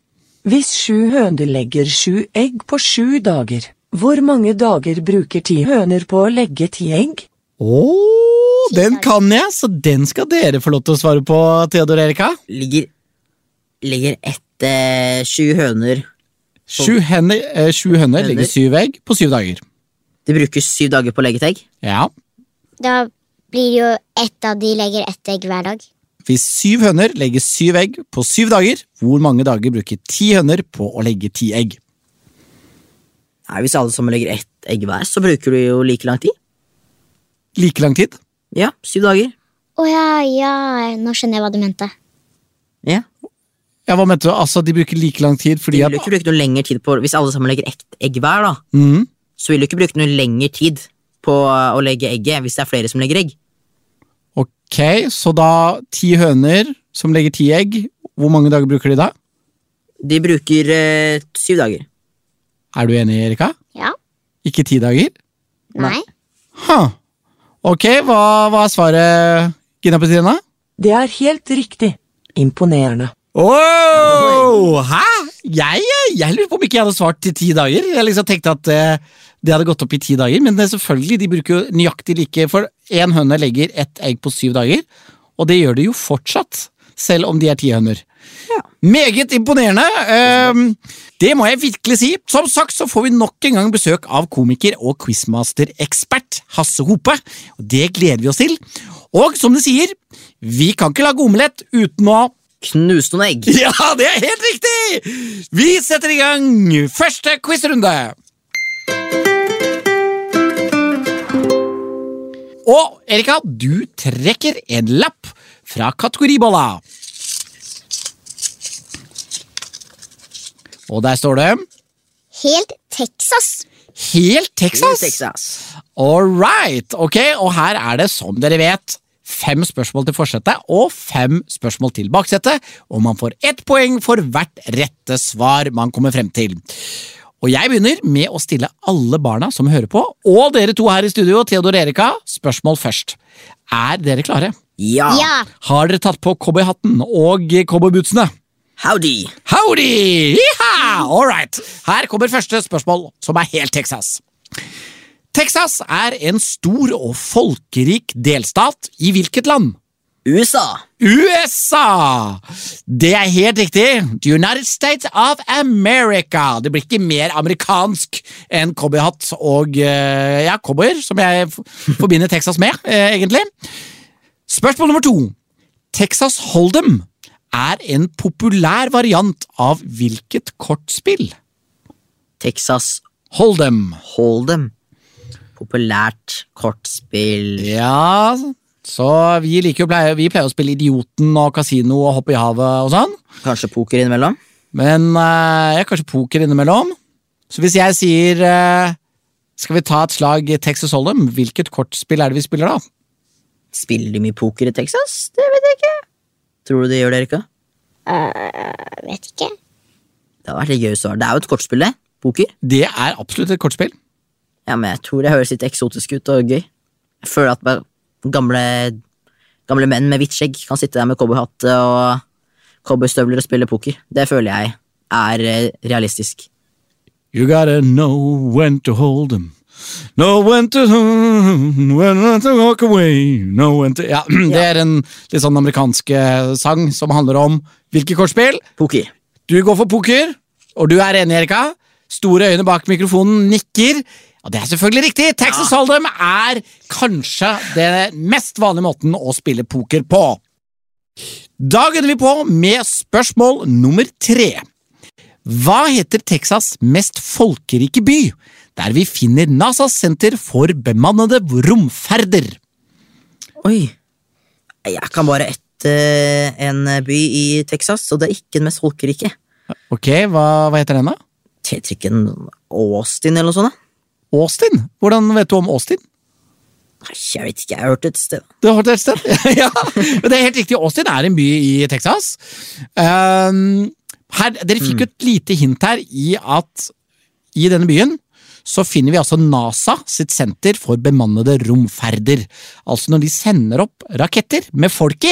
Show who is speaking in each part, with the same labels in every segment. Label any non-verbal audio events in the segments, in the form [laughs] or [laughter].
Speaker 1: Hvis sju høner legger sju egg på sju dager, hvor mange dager bruker ti høner på å legge ti egg?
Speaker 2: Å, den kan jeg, så den skal dere få lov til å svare på, Theodor Erika.
Speaker 3: Ligger, ligger ett eh, sju høner
Speaker 2: Sju hender, eh, sju høner legger syv egg på syv dager.
Speaker 3: Det brukes syv dager på å legge et egg.
Speaker 2: Ja.
Speaker 4: Da blir jo ett av de legger ett egg hver dag.
Speaker 2: Hvis syv høner legger syv egg på syv dager, hvor mange dager bruker ti høner på å legge ti egg?
Speaker 3: Nei, Hvis alle sammen legger ett egg hver, så bruker du jo like lang tid.
Speaker 2: Like lang tid?
Speaker 3: Ja, syv dager.
Speaker 4: Å ja, ja, nå skjønner jeg hva du mente.
Speaker 3: Ja.
Speaker 2: Ja, hva mente du? Altså, de bruker like lang tid fordi
Speaker 3: Du
Speaker 2: at
Speaker 3: vil jo ikke bruke noe lengre tid på Hvis alle sammen legger ett egg hver, da,
Speaker 2: Mhm.
Speaker 3: så vil du ikke bruke noe lengre tid på eh, å legge egget hvis det er flere som legger egg.
Speaker 2: Ok, så da ti høner som legger ti egg, hvor mange dager bruker de da?
Speaker 3: De bruker eh, syv dager.
Speaker 2: Er du enig, Erika?
Speaker 4: Ja?
Speaker 2: Ikke ti dager?
Speaker 4: Nei?
Speaker 2: Huh. Ok, hva, hva er svaret, Gina Petrina?
Speaker 1: Det er helt riktig. Imponerende.
Speaker 2: Oh, hæ? Jeg, jeg lurer på om ikke jeg hadde svart til ti dager. Jeg liksom tenkte at eh, det hadde gått opp i ti dager, men det er selvfølgelig, de bruker jo nøyaktig like For én høne legger ett egg på syv dager, og det gjør de jo fortsatt, selv om de er ti høner. Meget imponerende. ehm, det må jeg virkelig si. Som sagt så får vi nok en gang besøk av komiker og quizmaster-ekspert Hasse Hope. og Det gleder vi oss til. Og som de sier, vi kan ikke lage omelett uten å
Speaker 3: Knus noen egg.
Speaker 2: [laughs] ja, det er helt riktig! Vi setter i gang første quizrunde. Og Erika, du trekker en lapp fra kategoribolla. Og der står det
Speaker 4: Helt Texas.
Speaker 2: Helt Texas.
Speaker 3: Texas.
Speaker 2: All right. Ok, og her er det, som dere vet, fem spørsmål til forsetet og fem spørsmål til baksetet, og man får ett poeng for hvert rette svar man kommer frem til. Og jeg begynner med å stille alle barna som hører på, og dere to her i studio, Theodor og Erika, spørsmål først. Er dere klare?
Speaker 3: Ja.
Speaker 4: Ja.
Speaker 2: Har dere tatt på cowboyhatten og cowboybootsene?
Speaker 3: Howdy.
Speaker 2: Howdy! Yeeha! All right. Her kommer første spørsmål, som er helt Texas. Texas er en stor og folkerik delstat i hvilket land?
Speaker 3: USA.
Speaker 2: USA! Det er helt riktig. The United States of America. Det blir ikke mer amerikansk enn cowboyhatt og eh, ja, cowboyer, som jeg f- forbinder Texas med, eh, egentlig. Spørsmål nummer to. Texas Hold'em er en populær variant av hvilket kortspill?
Speaker 3: Texas
Speaker 2: Hold'em.
Speaker 3: Hold'em. Populært kortspill.
Speaker 2: Ja, så vi liker jo pleier, vi pleier å spille Idioten og Kasino og Hoppe i havet og sånn.
Speaker 3: Kanskje poker innimellom?
Speaker 2: Men eh, jeg har kanskje poker innimellom. Så hvis jeg sier eh, Skal vi ta et slag i Texas Hold'em? Hvilket kortspill er det vi spiller, da?
Speaker 3: Spiller de mye poker i Texas? Det vet jeg ikke. Tror du de gjør det, Erika?
Speaker 4: Jeg Eh, vet ikke.
Speaker 3: Det hadde vært litt gøy å svare. Det er jo et kortspill, det. Poker.
Speaker 2: Det er absolutt et kortspill.
Speaker 3: Ja, men jeg tror det høres litt eksotisk ut og gøy. Jeg føler at bare gamle, gamle menn med hvitt skjegg kan sitte der med cowboyhatt og cowboystøvler og spille poker. Det føler jeg er eh, realistisk.
Speaker 2: You gotta know when to hold them. Know when to, when to walk away. Know when to ja, [clears throat] Det er en litt sånn amerikansk eh, sang som handler om hvilke kortspill?
Speaker 3: Poker.
Speaker 2: Du går for poker, og du er enig, Erika. Store øyne bak mikrofonen nikker. Og det er selvfølgelig riktig! Texas Hold'em er kanskje den mest vanlige måten å spille poker på. Da gunner vi på med spørsmål nummer tre. Hva heter Texas' mest folkerike by, der vi finner NASAs senter for bemannede romferder?
Speaker 3: Oi. Jeg kan bare ett eh, en by i Texas, og det er ikke den mest folkerike.
Speaker 2: Ok, hva, hva heter den, da?
Speaker 3: T-trikken Austin eller noe sånt? da?
Speaker 2: Austin? Hvordan vet du om Austin?
Speaker 3: Nei, jeg vet ikke, jeg har hørt det et sted.
Speaker 2: Du har hørt det et sted? [laughs] ja, men det er helt riktig. Austin er en by i Texas. Ehm, her, dere fikk jo et lite hint her i at i denne byen så finner vi altså NASA sitt senter for bemannede romferder. Altså når de sender opp raketter med folk i,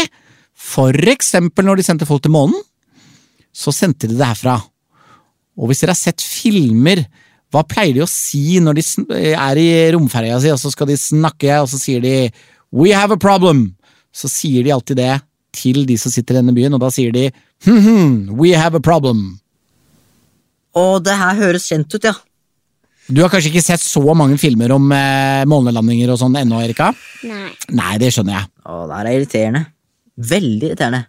Speaker 2: for eksempel når de sendte folk til månen, så sendte de det herfra. Og hvis dere har sett filmer, hva pleier de å si når de sn- er i romferja si, og så skal de snakke, og så sier de 'We have a problem'? Så sier de alltid det til de som sitter i denne byen, og da sier de «Hm, hm, 'We have a problem'.
Speaker 3: Og det her høres kjent ut, ja.
Speaker 2: Du har kanskje ikke sett så mange filmer om eh, månelandinger og sånn ennå, Erika?
Speaker 4: Nei.
Speaker 2: Nei, det skjønner jeg.
Speaker 3: Å, det her er irriterende. Veldig irriterende.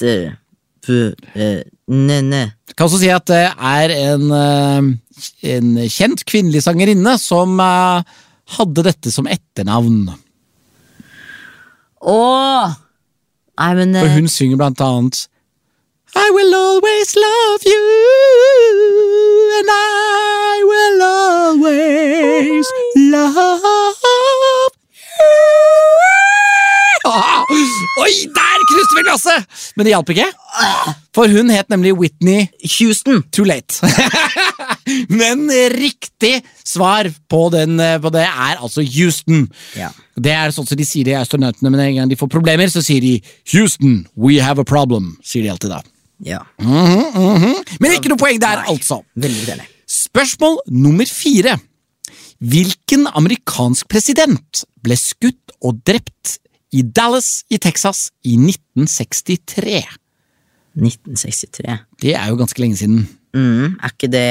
Speaker 3: Det, bu- eh, ne, ne.
Speaker 2: Kan også si at det er en, eh, en kjent kvinnelig sangerinne som eh, hadde dette som etternavn.
Speaker 3: Åh! Nei, men eh,
Speaker 2: Og hun synger blant annet I will always love you And I will always love you ah, Oi, der knuste vi glasset! Men det hjalp ikke. For hun het nemlig Whitney
Speaker 3: eh, Houston!
Speaker 2: Too Late. [laughs] Men riktig svar på, den, eh, på det er altså Houston.
Speaker 3: Ja.
Speaker 2: Det er sånn som de sier de astronautene, men en gang de får problemer, så sier de 'Houston, we have a problem'. sier de alltid da.
Speaker 3: ja.
Speaker 2: Mhm, mhm. Men ikke noe poeng der, altså.
Speaker 3: Veldig irriterende.
Speaker 2: Spørsmål nummer fire. Hvilken amerikansk president ble skutt og drept i Dallas i Texas i 1963?
Speaker 3: 1963.
Speaker 2: Det er jo ganske lenge siden.
Speaker 3: Mm, er ikke det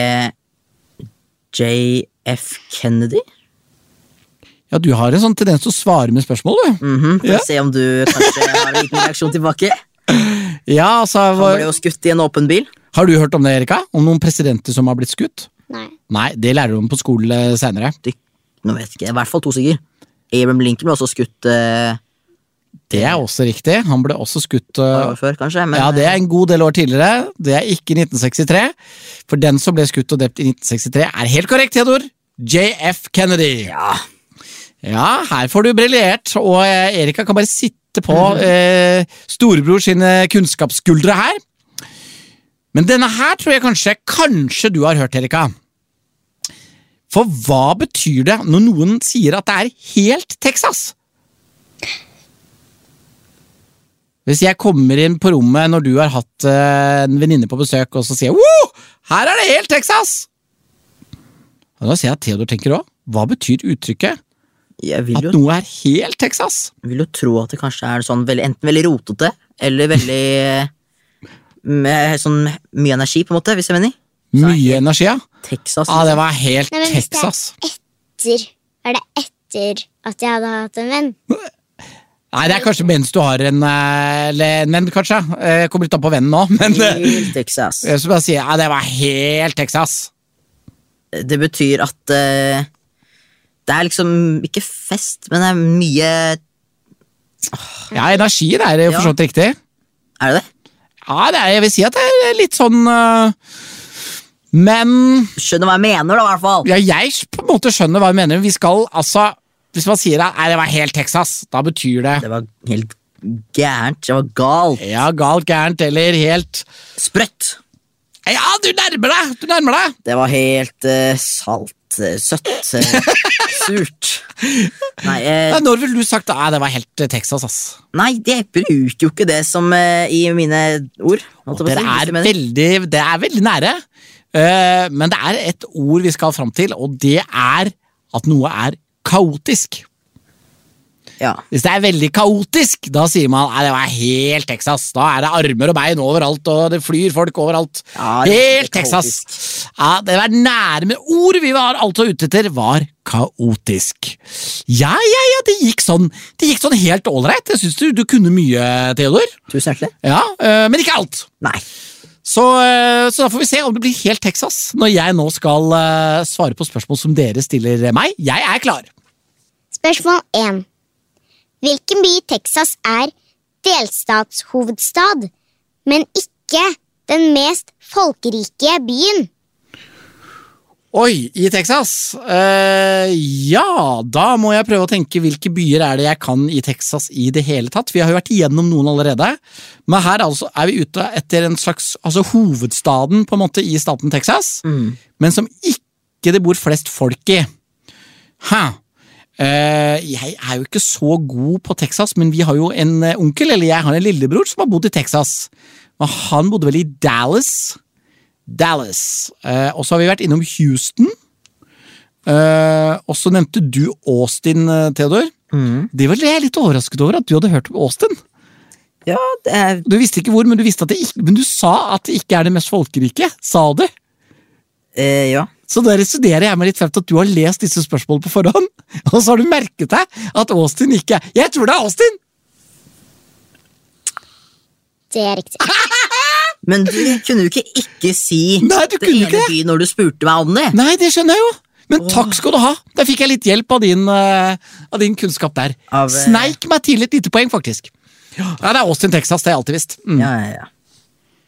Speaker 3: JF Kennedy?
Speaker 2: Ja, Du har en sånn tendens til å svare med spørsmål, du.
Speaker 3: Mhm, Får
Speaker 2: Ja.
Speaker 3: se om du kanskje har en liten reaksjon
Speaker 2: [laughs]
Speaker 3: tilbake.
Speaker 2: Ja, altså,
Speaker 3: Han ble
Speaker 2: hva,
Speaker 3: jo skutt i en åpen bil.
Speaker 2: Har du hørt om det, Erika? Om noen presidenter som har blitt skutt?
Speaker 4: Nei.
Speaker 2: Nei, det lærer du om på skole seinere.
Speaker 3: Du, nå vet jeg ikke, i hvert fall to stykker. Abraham Lincoln ble også skutt eh,
Speaker 2: Det er også riktig. Han ble også skutt
Speaker 3: et par
Speaker 2: uh,
Speaker 3: år før, kanskje. Men,
Speaker 2: Eh, Ja, det er en god del år tidligere. Det er ikke 1963. For den som ble skutt og drept i 1963, er helt korrekt, Theodor. JF Kennedy. Ja. her får du briljert. Og eh, Erika kan bare sitte på eh, storebror sine kunnskapsskuldre her. Men denne her tror jeg kanskje, kanskje du har hørt, Erika. For hva betyr det når noen sier at det er helt Texas? Hvis jeg kommer inn på rommet når du har hatt eh, en venninne på besøk, og så sier jeg wow, her er det helt Texas! Og da ser jeg at Theodor tenker òg. Hva betyr uttrykket?
Speaker 3: jeg vil
Speaker 2: At
Speaker 3: jo,
Speaker 2: noe er helt Texas?
Speaker 3: vil jo tro at det kanskje er sånn veldig, enten veldig rotete eller veldig eh, med, sånn mye energi, på en måte, hvis jeg mener.
Speaker 2: Mye energi, ja.
Speaker 3: Texas.
Speaker 2: Ah, det var helt
Speaker 4: Nei, men hvis det er
Speaker 2: Texas.
Speaker 4: Etter. Er det etter at jeg hadde hatt en venn?
Speaker 2: Nei, det er kanskje mens du har en, eh, eller en venn, kanskje. Eh, Jeg kommer litt an på vennen nå, [laughs] men eh,
Speaker 3: Helt Texas.
Speaker 2: jeg skal bare si ja, det var helt Texas.
Speaker 3: Det betyr at eh, det er liksom ikke fest, men det er mye
Speaker 2: Ja, energien er eh, for så vidt riktig.
Speaker 3: Er det det?
Speaker 2: Ja, det er, jeg vil si at det er litt sånn eh, Men
Speaker 3: Skjønner hva jeg mener, da, i hvert fall.
Speaker 2: Ja, jeg på en måte skjønner hva du mener. Vi skal altså Hvis man sier at «Nei, det var helt Texas, da betyr det
Speaker 3: Det var helt gærent. Det var galt.
Speaker 2: ja, galt, gærent eller helt
Speaker 3: Sprøtt.
Speaker 2: Ja, du nærmer deg! Du nærmer deg!
Speaker 3: Det var helt eh, salt. eh, Søtt.
Speaker 2: [laughs]
Speaker 3: eh, surt. Nei, eh,
Speaker 2: Ja, Når ville du sagt at det var helt eh, Texas, ass?
Speaker 3: nei, de bruker jo ikke det som eh, i mine ord. holdt
Speaker 2: Dere
Speaker 3: jeg på å si, hvis
Speaker 2: er
Speaker 3: du mener.
Speaker 2: veldig, det er veldig nære. Eh, men det er et ord vi skal fram til, og det er at noe er kaotisk.
Speaker 3: ja.
Speaker 2: Hvis det er veldig kaotisk, da sier man at det var helt Texas. Da er det armer og bein overalt, og det flyr folk overalt.
Speaker 3: Ja, det er
Speaker 2: helt Texas.
Speaker 3: kaotisk.
Speaker 2: Ja, det var nære med ord vi var altså ute etter, var kaotisk. Ja, ja, ja, det gikk sånn, det gikk sånn helt ålreit. Jeg syns du, du kunne mye, Theodor.
Speaker 3: Tusen hjertelig.
Speaker 2: Ja, eh, Men ikke alt.
Speaker 3: Nei.
Speaker 2: Så, eh, så da får vi se om det blir helt Texas når jeg nå skal eh, svare på spørsmål som dere stiller meg. Jeg er klar.
Speaker 4: Spørsmål 1. Hvilken by i Texas er delstatshovedstad, men ikke den mest folkerike byen?
Speaker 2: Oi, i Texas? Eh, ja, da må jeg prøve å tenke hvilke byer er det jeg kan i Texas i det hele tatt. Vi har jo vært igjennom noen allerede. Men her altså er vi ute etter en slags altså hovedstaden på en måte i staten Texas, men som ikke det bor flest folk i. Hæ? Eh, jeg er jo ikke så god på Texas, men vi har jo en eh, onkel, eller jeg har en lillebror, som har bodd i Texas. Men han bodde vel i Dallas. Dallas. Eh, og så har vi vært innom Houston. Eh, og så nevnte du Austin, eh, Theodor. Det var jeg litt overrasket over at du hadde hørt om Austin.
Speaker 3: Ja, det er
Speaker 2: Du visste ikke hvor, men du, visste at det ikke, men du sa at det ikke er det mest folkerike. Sa du?
Speaker 3: eh, Ja.
Speaker 2: Så da resonnerer jeg meg litt frem til at du har lest disse spørsmålene på forhånd, [laughs] og så har du merket deg at Austin ikke er Jeg tror det er Austin!
Speaker 4: Det er riktig.
Speaker 3: Men du kunne jo ikke ikke si
Speaker 2: Nei, du
Speaker 3: det
Speaker 2: kunne
Speaker 3: ene
Speaker 2: ikke det.
Speaker 3: byen når du spurte meg om det.
Speaker 2: Nei, det skjønner jeg jo. Men takk skal du ha. Der fikk jeg litt hjelp av din, eh, av din kunnskap der.
Speaker 3: Av, eh,
Speaker 2: Sneik meg til et lite poeng, faktisk. Ja, det er Austin, Texas. Det har jeg alltid visst. Mm.
Speaker 3: Ja, ja, ja.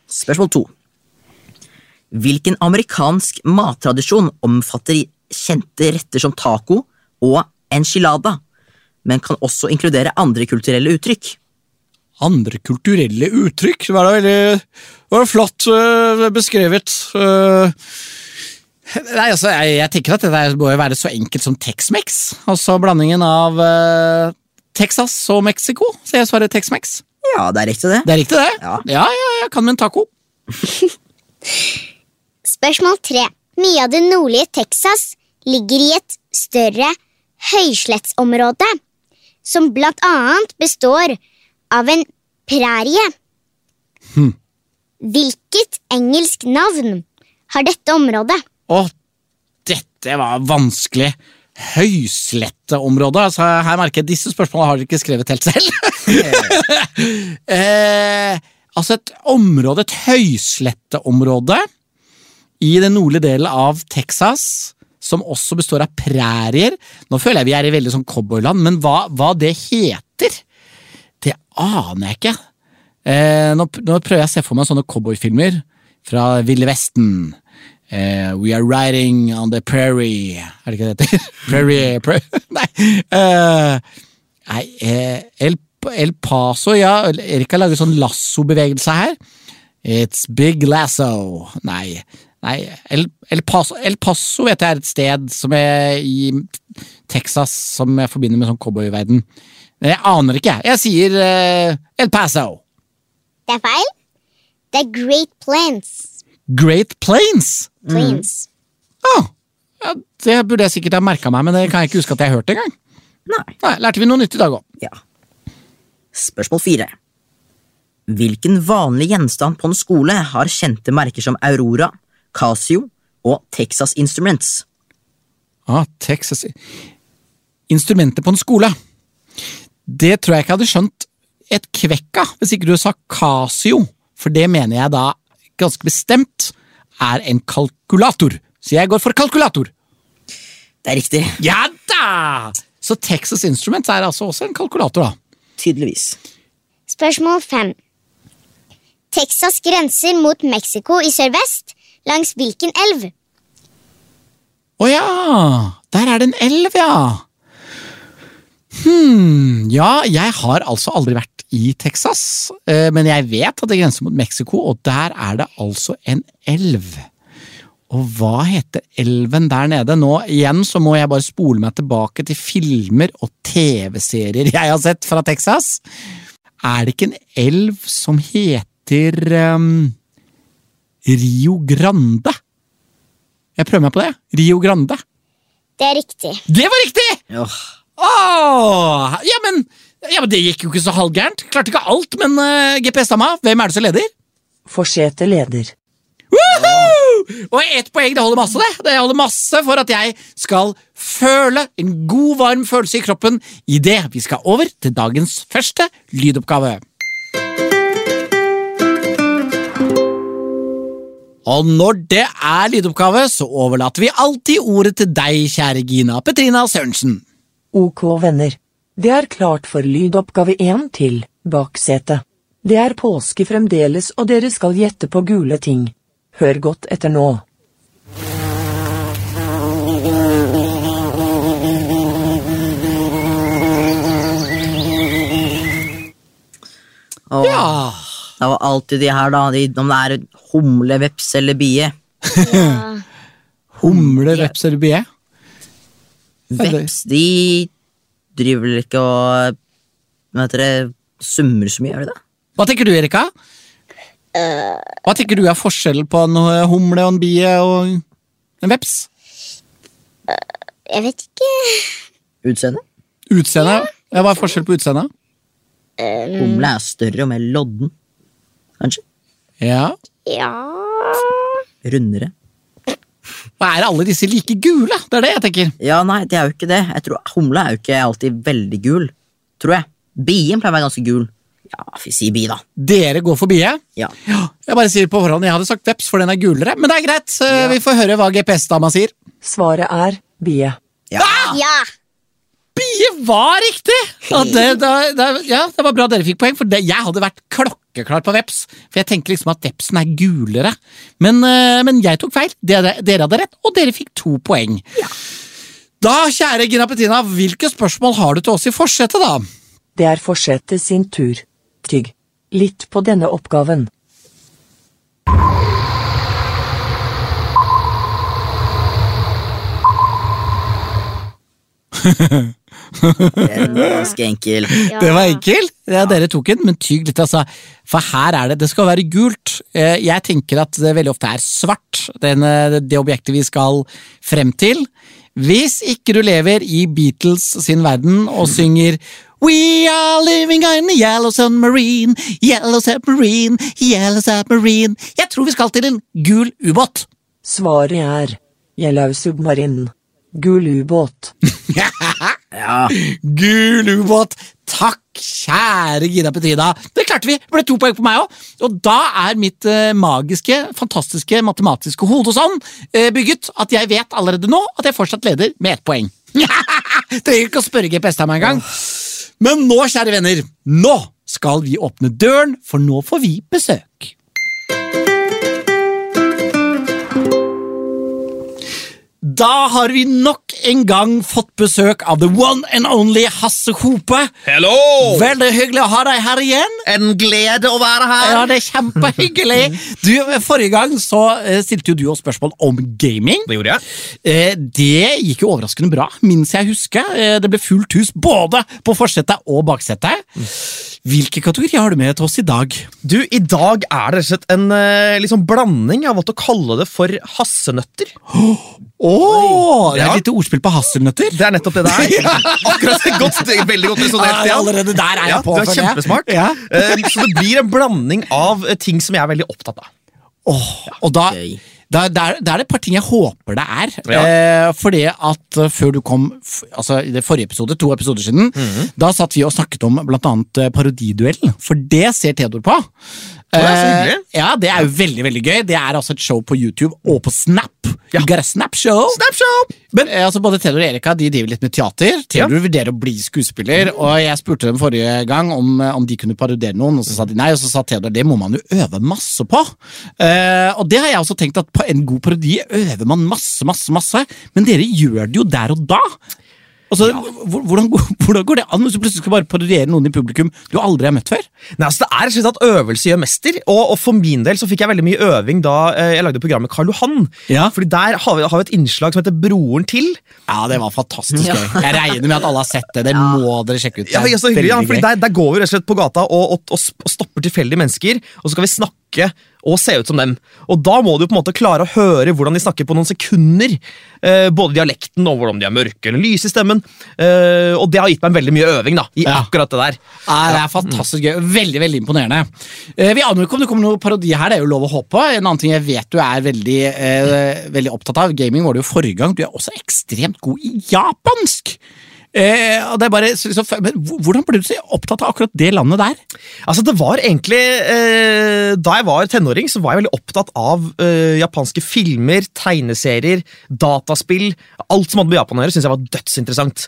Speaker 3: Spørsmål to. Hvilken amerikansk mattradisjon omfatter kjente retter som taco og enchilada, men kan også inkludere andre kulturelle uttrykk?
Speaker 2: Andre kulturelle uttrykk. Det var da veldig det var flott øh, beskrevet. øh. Nei, altså, jeg, jeg tenker at det der må jo være så enkelt som Tex-Mex. Altså blandingen av øh, Texas og Mexico. Så jeg svarer Tex-Mex.
Speaker 3: Ja, det er riktig, det.
Speaker 2: Det er riktig, det?
Speaker 3: Ja.
Speaker 2: ja, ja, jeg kan med en taco.
Speaker 4: Spørsmål tre. Mye av det nordlige Texas ligger i et større høyslettsområde, som blant annet består av en prærie. Hvilket engelsk navn har dette området?
Speaker 2: Å, dette var vanskelig. Høysletteområdet. Altså, her merker jeg disse spørsmålene har dere ikke skrevet helt selv. [laughs] eh, altså, et område, et høysletteområde i den nordlige delen av Texas, som også består av prærier. Nå føler jeg vi er i veldig sånn cowboyland, men hva, hva det heter, det aner jeg ikke. Eh, nå, nå prøver jeg å se for meg sånne cowboyfilmer fra Ville Vesten. Eh, We are riding on the prairie Er det ikke det det heter? [laughs] Prairie, prairie. [laughs] Nei. Eh, nei eh, El, El Paso, ja. Erika lager sånn lassobevegelse her. It's big lasso. Nei. Nei, El, El, Paso, El Paso vet jeg er et sted som er i Texas som jeg forbinder med sånn cowboyverden. Men jeg aner ikke. Jeg sier eh, El Paso.
Speaker 4: Det er feil. Det er Great Plains.
Speaker 2: Great Plains.
Speaker 3: Mm.
Speaker 4: Plains.
Speaker 2: Ah, ja, det burde jeg sikkert ha merka meg, men det kan jeg ikke huske at jeg hørte engang.
Speaker 3: Nei.
Speaker 2: Nei, lærte vi noe nytt i dag òg.
Speaker 3: Ja. Spørsmål fire. Hvilken vanlig gjenstand på en skole har kjente merker som Aurora, Casio og Texas Instruments?
Speaker 2: Ah, Texas Instrumenter på en skole. Det tror jeg ikke jeg hadde skjønt et kvekk av hvis ikke du sa Casio, for det mener jeg da ganske bestemt er en kalkulator. Så jeg går for kalkulator.
Speaker 3: Det er riktig.
Speaker 2: Ja da! Så Texas Instruments er altså også en kalkulator, da.
Speaker 3: Tydeligvis.
Speaker 4: Spørsmål 5. Texas grenser mot Mexico i sørvest langs hvilken elv?
Speaker 2: Å ja! Der er det en elv, ja! Hm Ja, jeg har altså aldri vært i Texas, eh, men jeg vet at det grenser mot Mexico, og der er det altså en elv. Og hva heter elven der nede? Nå igjen så må jeg bare spole meg tilbake til filmer og TV-serier jeg har sett fra Texas. Er det ikke en elv som heter ehm, Rio Grande? Jeg prøver meg på det. Rio Grande.
Speaker 4: Det er riktig.
Speaker 2: Det var riktig!
Speaker 3: Åh,
Speaker 2: Åh, ja, men, ja, men det gikk jo ikke så halvgærent. Klarte ikke alt, men eh, GPS dama, hvem er det som leder?
Speaker 1: Forsete leder.
Speaker 2: Woohoo! Og ett poeng, det holder masse, det. Det holder masse for at jeg skal føle en god, varm følelse i kroppen idet vi skal over til dagens første lydoppgave. Og når det er lydoppgave, så overlater vi alltid ordet til deg, kjære Gina Petrina Sørensen.
Speaker 1: Ok, venner. Det er klart for lydoppgave 1 til baksetet. Det er påske fremdeles, og dere skal gjette på gule ting. Hør godt etter nå.
Speaker 3: Og
Speaker 2: Ja.
Speaker 3: det var alltid de her, da. De, om det er humle, veps eller bie.
Speaker 2: Humle, veps eller bie?
Speaker 3: Veps, de driver vel ikke og Hva heter det Summer så mye, gjør de det?
Speaker 2: Hva tenker du, Erika? Hva tenker du er forskjellen på en eh, humle og en bie og en veps?
Speaker 4: Jeg vet ikke.
Speaker 3: Utseende?
Speaker 2: Utseende? Ja, hva er forskjellen på utseende?
Speaker 4: Ehm,
Speaker 3: Humle er større og mer lodden. Kanskje.
Speaker 2: Ja.
Speaker 4: Ja
Speaker 3: Rundere.
Speaker 2: Og er alle disse like gule? Det er det jeg tenker.
Speaker 3: Ja, nei, det er jo ikke det. Jeg tror Humle er jo ikke alltid veldig gul, tror jeg. Bien pleier å være ganske gul. Ja, vi sier bi, da.
Speaker 2: Dere går for bie.
Speaker 3: Ja.
Speaker 2: Ja, jeg bare sier på forhånd, jeg hadde sagt veps, for den er gulere. Men det er greit, eh, vi får høre hva GPS-dama sier.
Speaker 1: Svaret er bie.
Speaker 3: Ah!
Speaker 4: Ja.
Speaker 2: Bie var riktig! Ja det, det- det- ja, det var bra dere fikk poeng, for det, jeg hadde vært klokkeklar på veps. For jeg tenker liksom at vepsen er gulere. Men, eh, men jeg tok feil. Dere, dere hadde rett, og dere fikk to poeng. Da, kjære Gina Petina, hvilke spørsmål har du til oss i forsetet, da?
Speaker 1: Det er forsetet sin tur. Tygg. Litt på denne oppgaven.
Speaker 3: Den er Ganske enkel.
Speaker 4: ja.
Speaker 2: [laughs] Det var enkel. Ja, dere tok den, men tygg litt, altså. For her er det Det skal være gult. Eh, Jeg tenker at det veldig ofte er svart, den, eh, det objektet vi skal frem til. Hvis ikke du lever i Beatles sin verden og synger We are living in a yellow submarine, yellow submarine, yellow submarine Jeg tror vi skal til en gul ubåt.
Speaker 1: Svaret er Yellow Submarine. Gul ubåt.
Speaker 3: Ja,
Speaker 2: Gul ubåt! Takk, kjære Gina Petrina. Det klarte vi! Det ble to poeng på meg òg. Og da er mitt eh, magiske, fantastiske matematiske hode sånn eh, bygget at jeg vet allerede nå at jeg fortsatt leder med ett poeng. [laughs] Trenger ikke å spørre GPS meg engang. Men nå, kjære venner, nå skal vi åpne døren, for nå får vi besøk. Da har vi nok en gang fått besøk av the one and only Hasse Hope.
Speaker 5: Hello!
Speaker 2: Veldig hyggelig å ha deg her igjen.
Speaker 5: En glede å være her.
Speaker 2: Ja, det er kjempehyggelig. [laughs] Du, forrige gang så eh, stilte jo du oss spørsmål om gaming.
Speaker 5: Det gjorde jeg.
Speaker 2: Eh, Det gikk jo overraskende bra, minnes jeg husker. Eh, Det ble fullt hus både på forsetet og baksetet. Hvilke kategorier har du med til oss i dag?
Speaker 5: Du, I dag er det rett og slett en eh, liksom blanding. Jeg har valgt å kalle det for hassenøtter.
Speaker 2: Åh, det er
Speaker 5: Ja.
Speaker 2: et lite ordspill på hasselnøtter.
Speaker 5: Det er nettopp det det [laughs] er. Akkurat det er godt, det er Veldig godt resonnert.
Speaker 2: Ah, Ja,
Speaker 5: Stian.
Speaker 2: allerede der er jeg
Speaker 5: ja,
Speaker 2: på,
Speaker 5: Du er
Speaker 2: føler jeg.
Speaker 5: kjempesmart.
Speaker 2: Ja.
Speaker 5: Eh, så det blir en blanding av eh, ting som jeg er veldig opptatt av.
Speaker 2: Åh, og da,
Speaker 3: gøy.
Speaker 2: da, da, er- da er det et par ting jeg håper det er.
Speaker 5: Ja.
Speaker 2: Eh, fordi at eh, før du kom, f altså i det forrige episode, to episoder siden,
Speaker 5: Mhm.
Speaker 2: da satt vi og snakket om blant annet eh, parodiduellen, for det ser Theodor på.
Speaker 5: det er så hyggelig.
Speaker 2: Eh, ja, det er jo veldig, veldig gøy. Det er altså et show på YouTube og på Snap. You got a Snap show!
Speaker 5: Snapshot!
Speaker 2: Men eh, altså, både Theodor og Erika de driver litt med teater. Theodor vurderer å bli skuespiller, og jeg spurte dem forrige gang om, eh, om de kunne parodiere noen, og så sa de nei, og så sa Theodor det må man jo øve masse på. Eh, og det har jeg også tenkt at på en god parodi øver man masse, masse, masse, men dere gjør det jo der og da. Altså, hvor- hvordan, går- [laughs] hvordan går det an hvis du plutselig skal bare parodiere noen i publikum du aldri har møtt før?
Speaker 5: Nei, altså Det er rett og slett at øvelse gjør mester, og, og for min del så fikk jeg veldig mye øving da eh, jeg lagde programmet Karl Johan.
Speaker 2: Ja.
Speaker 5: Fordi Der har vi, har vi et innslag som heter Broren til.
Speaker 2: Ja, det var fantastisk gøy. Jeg regner med at alle har sett det. Det må dere sjekke ut. Det
Speaker 5: Ja,
Speaker 2: er
Speaker 5: ja, så hyggelig, ja,
Speaker 2: veldig
Speaker 5: fordi
Speaker 2: gøy.
Speaker 5: der, der går vi rett og slett på gata og, og, og sp- og stopper tilfeldige mennesker, og så skal vi snakke og se ut som dem. Og da må du på en måte klare å høre hvordan de snakker på noen sekunder. Eh, både dialekten og hvordan de er mørke eller lyse i stemmen. Eh, og det har gitt meg veldig mye øving da, i
Speaker 2: Ja.
Speaker 5: akkurat det der.
Speaker 2: Ja, det er fantastisk gøy. Veldig veldig imponerende. Eh, vi aner jo ikke om det kommer noe parodi her. det er jo lov å håpe. En annen ting jeg vet du er veldig, eh, veldig opptatt av, gaming var det jo forrige gang, du er også ekstremt god i japansk! Eh, og det er bare, så, så, men hvor- hvordan ble du så opptatt av akkurat det landet der?
Speaker 5: Altså, det var egentlig eh, Da jeg var tenåring, så var jeg veldig opptatt av eh, japanske filmer, tegneserier, dataspill. Alt som hadde med Japan å gjøre, syntes jeg var dødsinteressant.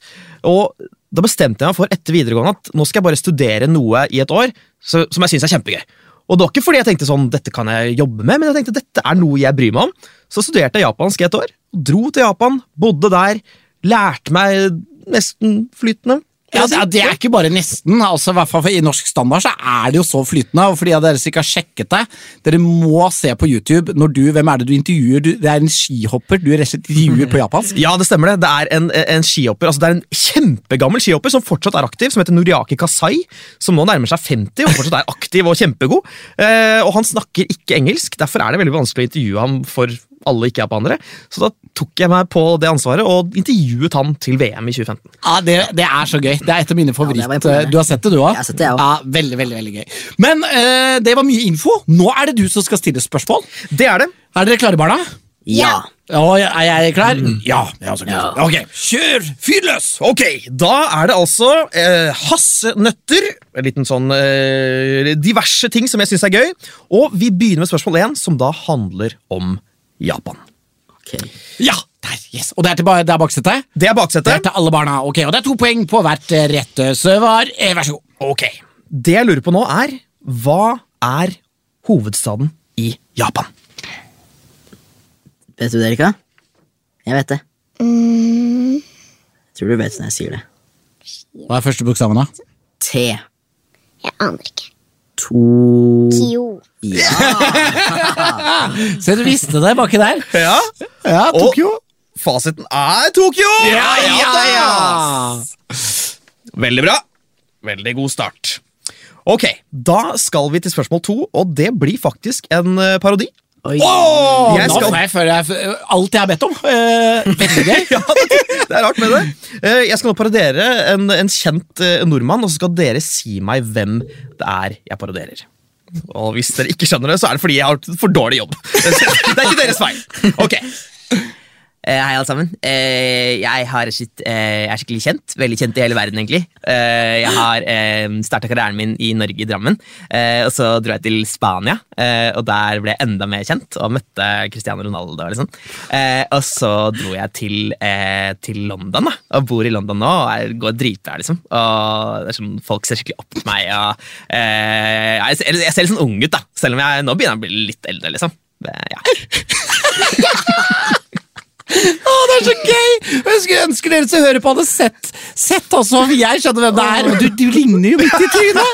Speaker 5: Og da bestemte jeg meg for etter videregående at nå skal jeg bare studere noe i et år så, som jeg syns er kjempegøy. Og det var ikke fordi jeg tenkte sånn, dette kan jeg jobbe med, men jeg tenkte dette er noe jeg bryr meg om. Så studerte jeg japansk i et år, Dro til Japan, bodde der, lærte meg nesten flytende.
Speaker 2: Ja, det, Altså, det er ikke bare nesten. altså I hvert fall for- i norsk standard så er det jo så flytende. og For de av dere som ikke har sjekket det, dere må se på YouTube når du, hvem er det du intervjuer. Du, det er en skihopper du rett og slett intervjuer på japansk.
Speaker 5: Ja, det stemmer det. Det er en, en skihopper, altså det er en kjempegammel skihopper som fortsatt er aktiv, som heter Noriaki Kasai, som nå nærmer seg 50 og fortsatt er aktiv og kjempegod. Eh, og han snakker ikke engelsk, derfor er det veldig vanskelig å intervjue ham for alle ikke-japanere. Så da tok jeg meg på det ansvaret og intervjuet han til VM i 2015.
Speaker 2: Ja, det, det er så gøy. Det er et av mine favoritt...
Speaker 3: Ja, det var imponerende.
Speaker 2: du har sett det, du òg?
Speaker 3: Jeg har sett det, jeg også.
Speaker 2: ja, veldig, veldig, veldig gøy. Men eh, det var mye info. Nå er det du som skal stille spørsmål.
Speaker 5: Det er det.
Speaker 2: Er dere klare, barna?
Speaker 3: Ja.
Speaker 2: Ja, er jeg klar?
Speaker 3: Mm.
Speaker 2: Ja. jeg er også klar. Ok, kjør! Fyr løs!
Speaker 5: Ok, da er det altså eh, hassenøtter, en liten sånn eh, diverse ting som jeg syns er gøy, og vi begynner med spørsmål én, som da handler om Japan.
Speaker 3: Ok.
Speaker 2: Ja! Der, yes. Og det er, til, ba- det er baksete?
Speaker 5: Det er
Speaker 2: Det er
Speaker 5: baksetet.
Speaker 2: til alle barna. Ok, Og det er to poeng på hvert eh, rette svar. Eh, Vær så god.
Speaker 5: Ok. Det jeg lurer på nå, er hva er hovedstaden i Japan?
Speaker 3: Vet du det, Erika? Jeg vet det. Jeg tror du vet det når jeg sier det.
Speaker 2: Hva er første bokstaven, da?
Speaker 3: T.
Speaker 4: Jeg aner ikke.
Speaker 3: To
Speaker 4: Kyo.
Speaker 2: Se, du visste det baki der.
Speaker 5: Ja,
Speaker 2: Ja,
Speaker 5: Tokyo. Fasiten er Tokyo!
Speaker 2: Ja, ja,
Speaker 5: da!
Speaker 2: ja!
Speaker 5: Veldig bra. Veldig god start. Ok, Da skal vi til spørsmål to, og det blir faktisk en eh, parodi.
Speaker 3: Oi.
Speaker 2: Åh,
Speaker 5: Jeg
Speaker 2: nå
Speaker 5: skal-
Speaker 2: får jeg føle jeg f- alt jeg har bedt om. Eh, veldig
Speaker 3: [laughs]
Speaker 2: gøy.
Speaker 5: Ja, det [laughs] det er rart med det. Eh, Jeg skal nå parodiere en, en kjent eh, nordmann, og så skal dere si meg hvem det er jeg parodierer. Og hvis dere ikke skjønner det, så er det fordi jeg har hatt for dårlig jobb. [laughs] Det er ikke deres feil. Ok,
Speaker 6: Eh, hei, alle sammen. Eh, jeg, har sitt, eh, jeg er skikkelig kjent. Veldig kjent i hele verden, egentlig. Eh, jeg har eh, starta karrieren min i Norge, i Drammen. Eh, og så dro jeg til Spania, eh, og der ble jeg enda mer kjent og møtte Cristiano Ronaldo. Liksom. Eh, og så dro jeg til, eh, til London, da, og bor i London nå og er, går dritbra, liksom. Og det er sånn, folk ser skikkelig opp til meg. Og, eh, jeg, ser, jeg ser litt sånn ung ut, da, selv om jeg nå begynner jeg å bli litt eldre, liksom. Eh, ja.
Speaker 2: Å, det er så gøy! Jeg skulle ønske dere som hører på, hadde sett Sett også om jeg skjønner hvem det er. Og du, du ligner jo midt i trynet!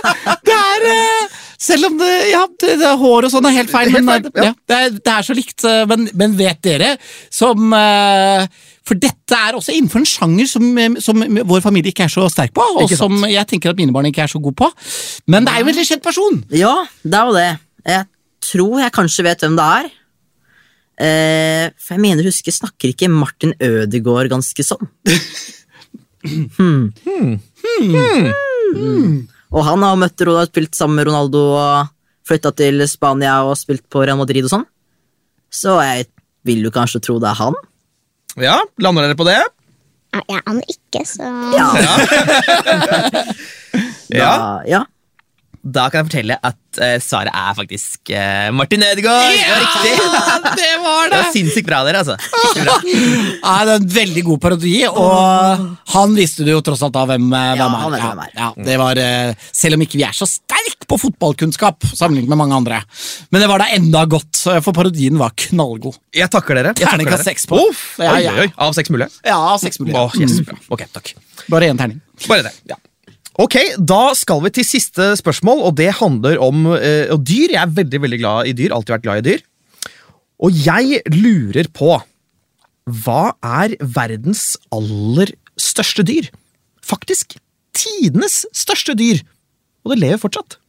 Speaker 2: Det er eh, Selv om det, ja, det, det er hår og sånn er helt feil, men
Speaker 5: Helt feil, ja.
Speaker 2: ja, det, er, det er så likt. eh, Men, men vet dere som eh, For dette er også innenfor en sjanger som, eh, som vår familie ikke er så sterk på, og
Speaker 5: Ikke sant.
Speaker 2: som jeg tenker at mine barn ikke er så gode på. Men det er jo en veldig kjent person!
Speaker 3: Ja, det er jo det. Jeg tror jeg kanskje vet hvem det er. Eh, for jeg mener, husker, snakker ikke Martin Ødegaard ganske sånn? hmm. Hmm. Og han har møtt Ronaldo, spilt sammen med Ronaldo og flytta til Spania og spilt på Real Madrid og sånn. Så jeg vil jo kanskje tro det er han.
Speaker 5: ja, Lander dere på det?
Speaker 4: Ja, Ah, Jeg aner ikke, så
Speaker 5: Ja.
Speaker 3: Da, ja.
Speaker 6: Da kan jeg fortelle at eh, svaret er faktisk eh, Martin Ødegaard! Det var riktig!
Speaker 2: det
Speaker 6: [laughs]
Speaker 2: var
Speaker 6: Det var sinnssykt bra, dere. altså. Skikkelig bra.
Speaker 2: Ja, det er en veldig god parodi, og han visste du jo tross alt da hvem, eh,
Speaker 3: Ja,
Speaker 2: hvem er.
Speaker 3: han vet hvem er.
Speaker 2: Ja, det var, eh, selv om ikke vi er så sterkt på fotballkunnskap sammenlignet med mange andre. Men det var da enda godt, eh, for parodien var knallgod.
Speaker 5: Jeg takker dere. Jeg takker
Speaker 2: Terningkast
Speaker 5: dere.
Speaker 2: seks på.
Speaker 5: Uff,
Speaker 2: Ja,
Speaker 5: oi,
Speaker 2: ja.
Speaker 5: oi, Av seks mulige?
Speaker 2: Ja, seks mulige.
Speaker 5: Å, yes, bra. Ok, takk.
Speaker 2: Bare én terning.
Speaker 5: Bare det. ja. Ok, Da skal vi til siste spørsmål, og det handler om eh, og dyr. Jeg er veldig veldig glad i dyr. Alltid vært glad i dyr. Og jeg lurer på Hva er verdens aller største dyr? Faktisk tidenes største dyr! Og det lever fortsatt.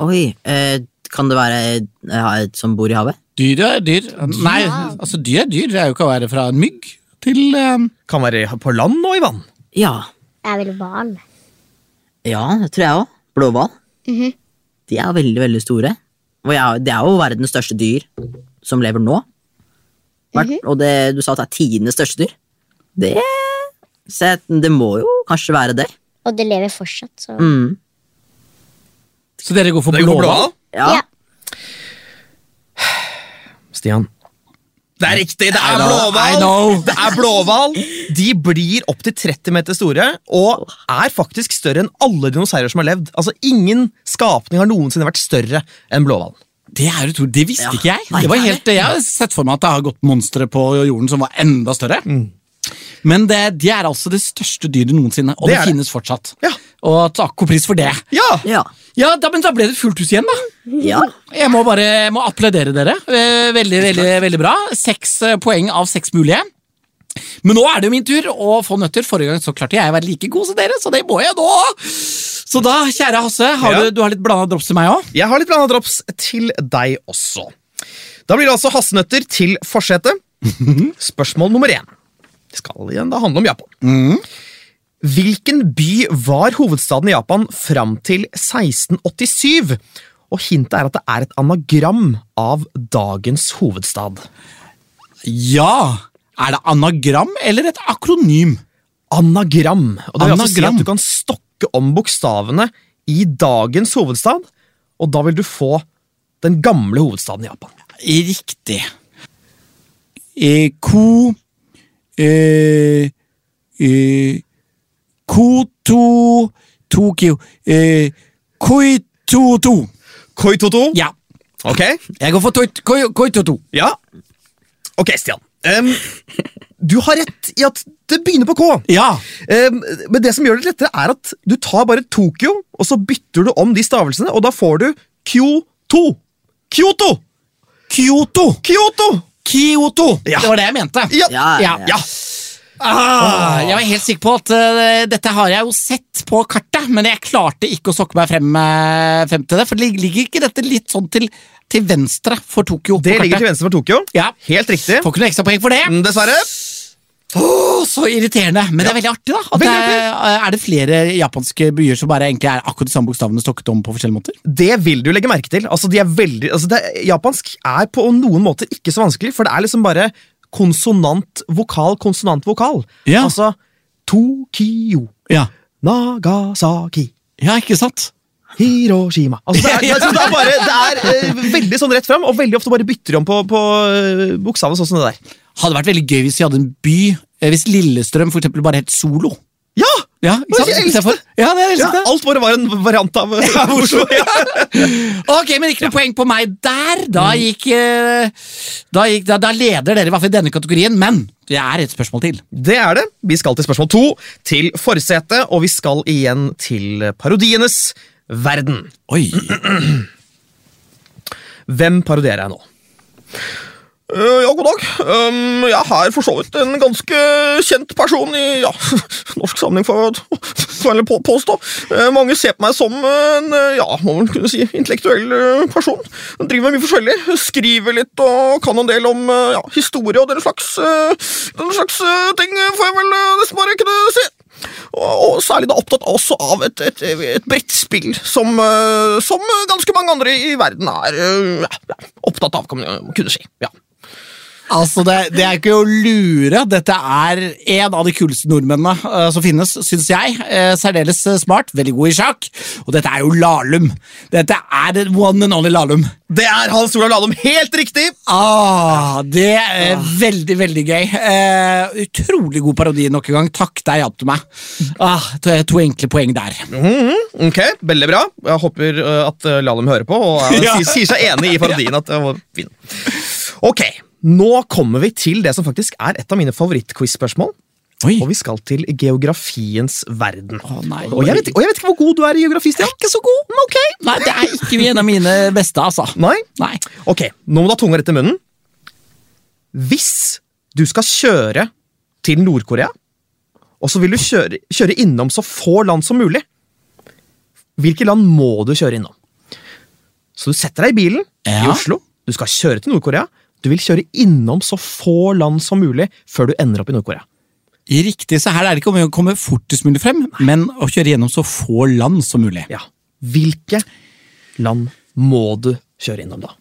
Speaker 3: Oi, eh, kan det være eh, som bor i havet?
Speaker 2: Dyr er dyr. Nei, altså dyr er dyr. Det er jo ikke å være fra en mygg til eh,
Speaker 5: Kan være på land og i vann.
Speaker 3: Ja.
Speaker 4: det er vel hval.
Speaker 3: Ja, det tror jeg òg. Blåhval. De er veldig, veldig store. Og ja, det er jo verdens største dyr som lever nå. Hvert- Og det, du sa at det er tidenes største dyr. Det Så jeg- det må jo kanskje være det.
Speaker 4: Og det lever fortsatt, så
Speaker 3: Mm.
Speaker 2: Så dere går for
Speaker 5: Det går på
Speaker 2: blåhval?
Speaker 5: blåhval.
Speaker 3: Ja.
Speaker 4: Ja.
Speaker 5: Stian. Det er riktig! Det
Speaker 2: I
Speaker 5: er
Speaker 2: know, I
Speaker 5: blåhval!
Speaker 2: know.
Speaker 5: Det er blåhval! De blir opptil 30 meter store og er faktisk større enn alle dinosaurer som har levd. Altså Ingen skapning har noensinne vært større enn blåhvalen.
Speaker 2: Det er utrolig, det visste
Speaker 3: Ja.
Speaker 2: ikke jeg.
Speaker 3: Nei,
Speaker 2: det var
Speaker 3: ikke
Speaker 2: helt, jeg har sett for meg at det har gått monstre på jorden som var enda større.
Speaker 5: Mm.
Speaker 2: Men det, de er altså det største dyret noensinne, og det,
Speaker 5: Det er det.
Speaker 2: finnes fortsatt.
Speaker 5: Ja.
Speaker 2: Og takk og pris for det.
Speaker 5: Ja!
Speaker 3: Ja.
Speaker 2: Ja, da, men da ble det fullt hus igjen, da.
Speaker 3: ja.
Speaker 2: Jeg må bare jeg må applaudere dere. Eh, Veldig, veldig, veldig bra. Seks eh, poeng av seks mulige. Men nå er det jo min tur å få nøtter. Forrige gang så klarte jeg å være like god som dere, så det må jeg nå. Så da, kjære Hasse, har
Speaker 5: Ja.
Speaker 2: du, du har litt blanda drops til meg òg?
Speaker 5: Jeg har litt blanda drops til deg også. Da blir det altså hassenøtter til forsetet. Spørsmål nummer én. Det skal igjen da handle om Japan. Hvilken by var hovedstaden i Japan fram til 1687? Og hintet er at det er et anagram av dagens hovedstad.
Speaker 2: Ja! Er det anagram eller et akronym?
Speaker 5: Anagram. Og det vil altså si
Speaker 2: Anagram.
Speaker 5: at du kan stokke om bokstavene i dagens hovedstad, og da vil du få den gamle hovedstaden i Japan.
Speaker 2: Riktig. Eh, ko eh, eh, Koto Tokyo eh, Koitoto.
Speaker 5: Koitoto.
Speaker 2: Ja,
Speaker 5: Ok.
Speaker 2: jeg går for toit- koi- Koitoto.
Speaker 5: Ja. Ok, Stian. Em, du har rett i at det begynner på K.
Speaker 2: Ja,
Speaker 5: Em, men det som gjør det litt lettere, er at du tar bare Tokyo, og så bytter du om de stavelsene, og da får du Kyoto. Kyoto!
Speaker 2: Kyoto.
Speaker 5: Kyoto!
Speaker 2: Kyoto.
Speaker 5: Ja.
Speaker 2: Det var det jeg mente.
Speaker 5: Ja.
Speaker 3: Ja,
Speaker 2: Ja.
Speaker 5: Ja.
Speaker 2: Ah, jeg var helt sikker på at eh, dette har jeg jo sett på kartet, men jeg klarte ikke å sokke meg frem, eh, frem til det. For lig- ligger ikke dette litt sånn til, til venstre for Tokyo? på
Speaker 5: Det
Speaker 2: kartet?
Speaker 5: ligger til venstre for Tokyo.
Speaker 2: Ja.
Speaker 5: Helt riktig.
Speaker 2: Får ikke noe ekstrapoeng for det.
Speaker 5: Mm, Dessverre.
Speaker 2: Åh, så irriterende, men det er veldig artig, da. At
Speaker 5: Veldig
Speaker 2: det er, er det flere japanske byer som bare egentlig er akkurat de samme bokstavene stokket om på forskjellige måter?
Speaker 5: Det vil du legge merke til. Altså, de er veldig, altså, det, er- japansk er på noen måter ikke så vanskelig, for det er liksom bare konsonant, vokal, konsonant, vokal.
Speaker 2: Ja.
Speaker 5: Altså Tokyo,
Speaker 2: Ja,
Speaker 5: Nagasaki,
Speaker 2: ja ikke sant?
Speaker 5: Hiroshima. Altså,
Speaker 2: [laughs]
Speaker 5: det, er, det, er, det, er bare, det er eh, veldig sånn rett fram, og veldig ofte bare bytter de om på, på eh, bokstavene. Sånn som det der.
Speaker 2: Hadde vært veldig gøy hvis vi hadde en by eh, Hvis Lillestrøm for eksempel bare het Solo.
Speaker 5: Ja!
Speaker 2: Ja,
Speaker 5: Det
Speaker 2: ikke sant?
Speaker 5: er det eldste.
Speaker 2: Istedenfor- Ja, det er det
Speaker 5: ja!
Speaker 2: eldste.
Speaker 5: Alt bare var en
Speaker 2: [laughs]
Speaker 5: variant av eh, Oslo. Ja.
Speaker 2: Ok, men ikke noe poeng på meg der. Da gikk, eh, da, gikk da, da leder dere i hvert fall i denne kategorien, men det er et spørsmål til.
Speaker 5: Det er det. Vi skal til spørsmål to, til forsetet, og vi skal igjen til parodienes verden.
Speaker 2: Oi.
Speaker 5: Hvem parodierer jeg nå? Eh, ja, god dag. Ehm, jeg er for så vidt en ganske kjent person i ja, [laughs] norsk sammenheng, for å- [laughs] for å vel på- påstå. Eh, mange ser på meg som en eh, ja, må vel kunne si, intellektuell eh, person. Jeg driver med mye forskjellig. Skriver litt og kan en del om eh, ja, historie og den slags, eh, den slags eh, ting, eh, får jeg vel eh, nesten bare kunne si. Og, og særlig da opptatt også av et, et, et brettspill som, eh, som ganske mange andre i verden er eh, ja, ja, opptatt av, kan man kunne si. Ja.
Speaker 2: Altså, det, det er ikke å lure. Dette er en av de kuleste nordmennene eh, som finnes, syns jeg. Eh, særdeles eh, smart, veldig god i sjakk. Og dette er jo Lahlum. Dette er the one and only Lahlum.
Speaker 5: Det er Hans Olav Lahlum helt riktig!
Speaker 2: Ah, det er veldig, veldig gøy. Eh, utrolig god parodi nok en gang. Takk, der hjalp du meg. Ah, to, to enkle poeng der. Mhm.
Speaker 5: Ok, Veldig bra. Jeg håper eh, at eh, Lahlum hører på og eh,
Speaker 2: [laughs] Ja.
Speaker 5: sier, sier seg enig i parodien. at det var fin. Ok, nå kommer vi til det som faktisk er et av mine favorittquiz-spørsmål.
Speaker 2: Oi.
Speaker 5: Og vi skal til geografiens verden.
Speaker 2: Å, nei.
Speaker 5: og, jeg vet, ikke- og jeg vet ikke hvor god du er i geografi, Stian.
Speaker 2: Ikke så god.
Speaker 5: Men ok.
Speaker 2: Nei, det er ikke en av mine beste, altså.
Speaker 5: Nei?
Speaker 2: Nei.
Speaker 5: Ok, nå må du ha tunga rett i munnen. Hvis du skal kjøre til Nord-Korea, og så vil du kjøre, kjøre innom så få land som mulig, hvilke land må du kjøre innom? Så du setter deg i bilen i
Speaker 2: Ja.
Speaker 5: Oslo, du skal kjøre til Nord-Korea, du vil kjøre innom så få land som mulig før du ender opp i Nord-Korea.
Speaker 2: Riktig, så her er det ikke om å komme fortest mulig frem, men å kjøre gjennom så få land som mulig.
Speaker 5: Ja. Hvilke land må du kjøre innom da?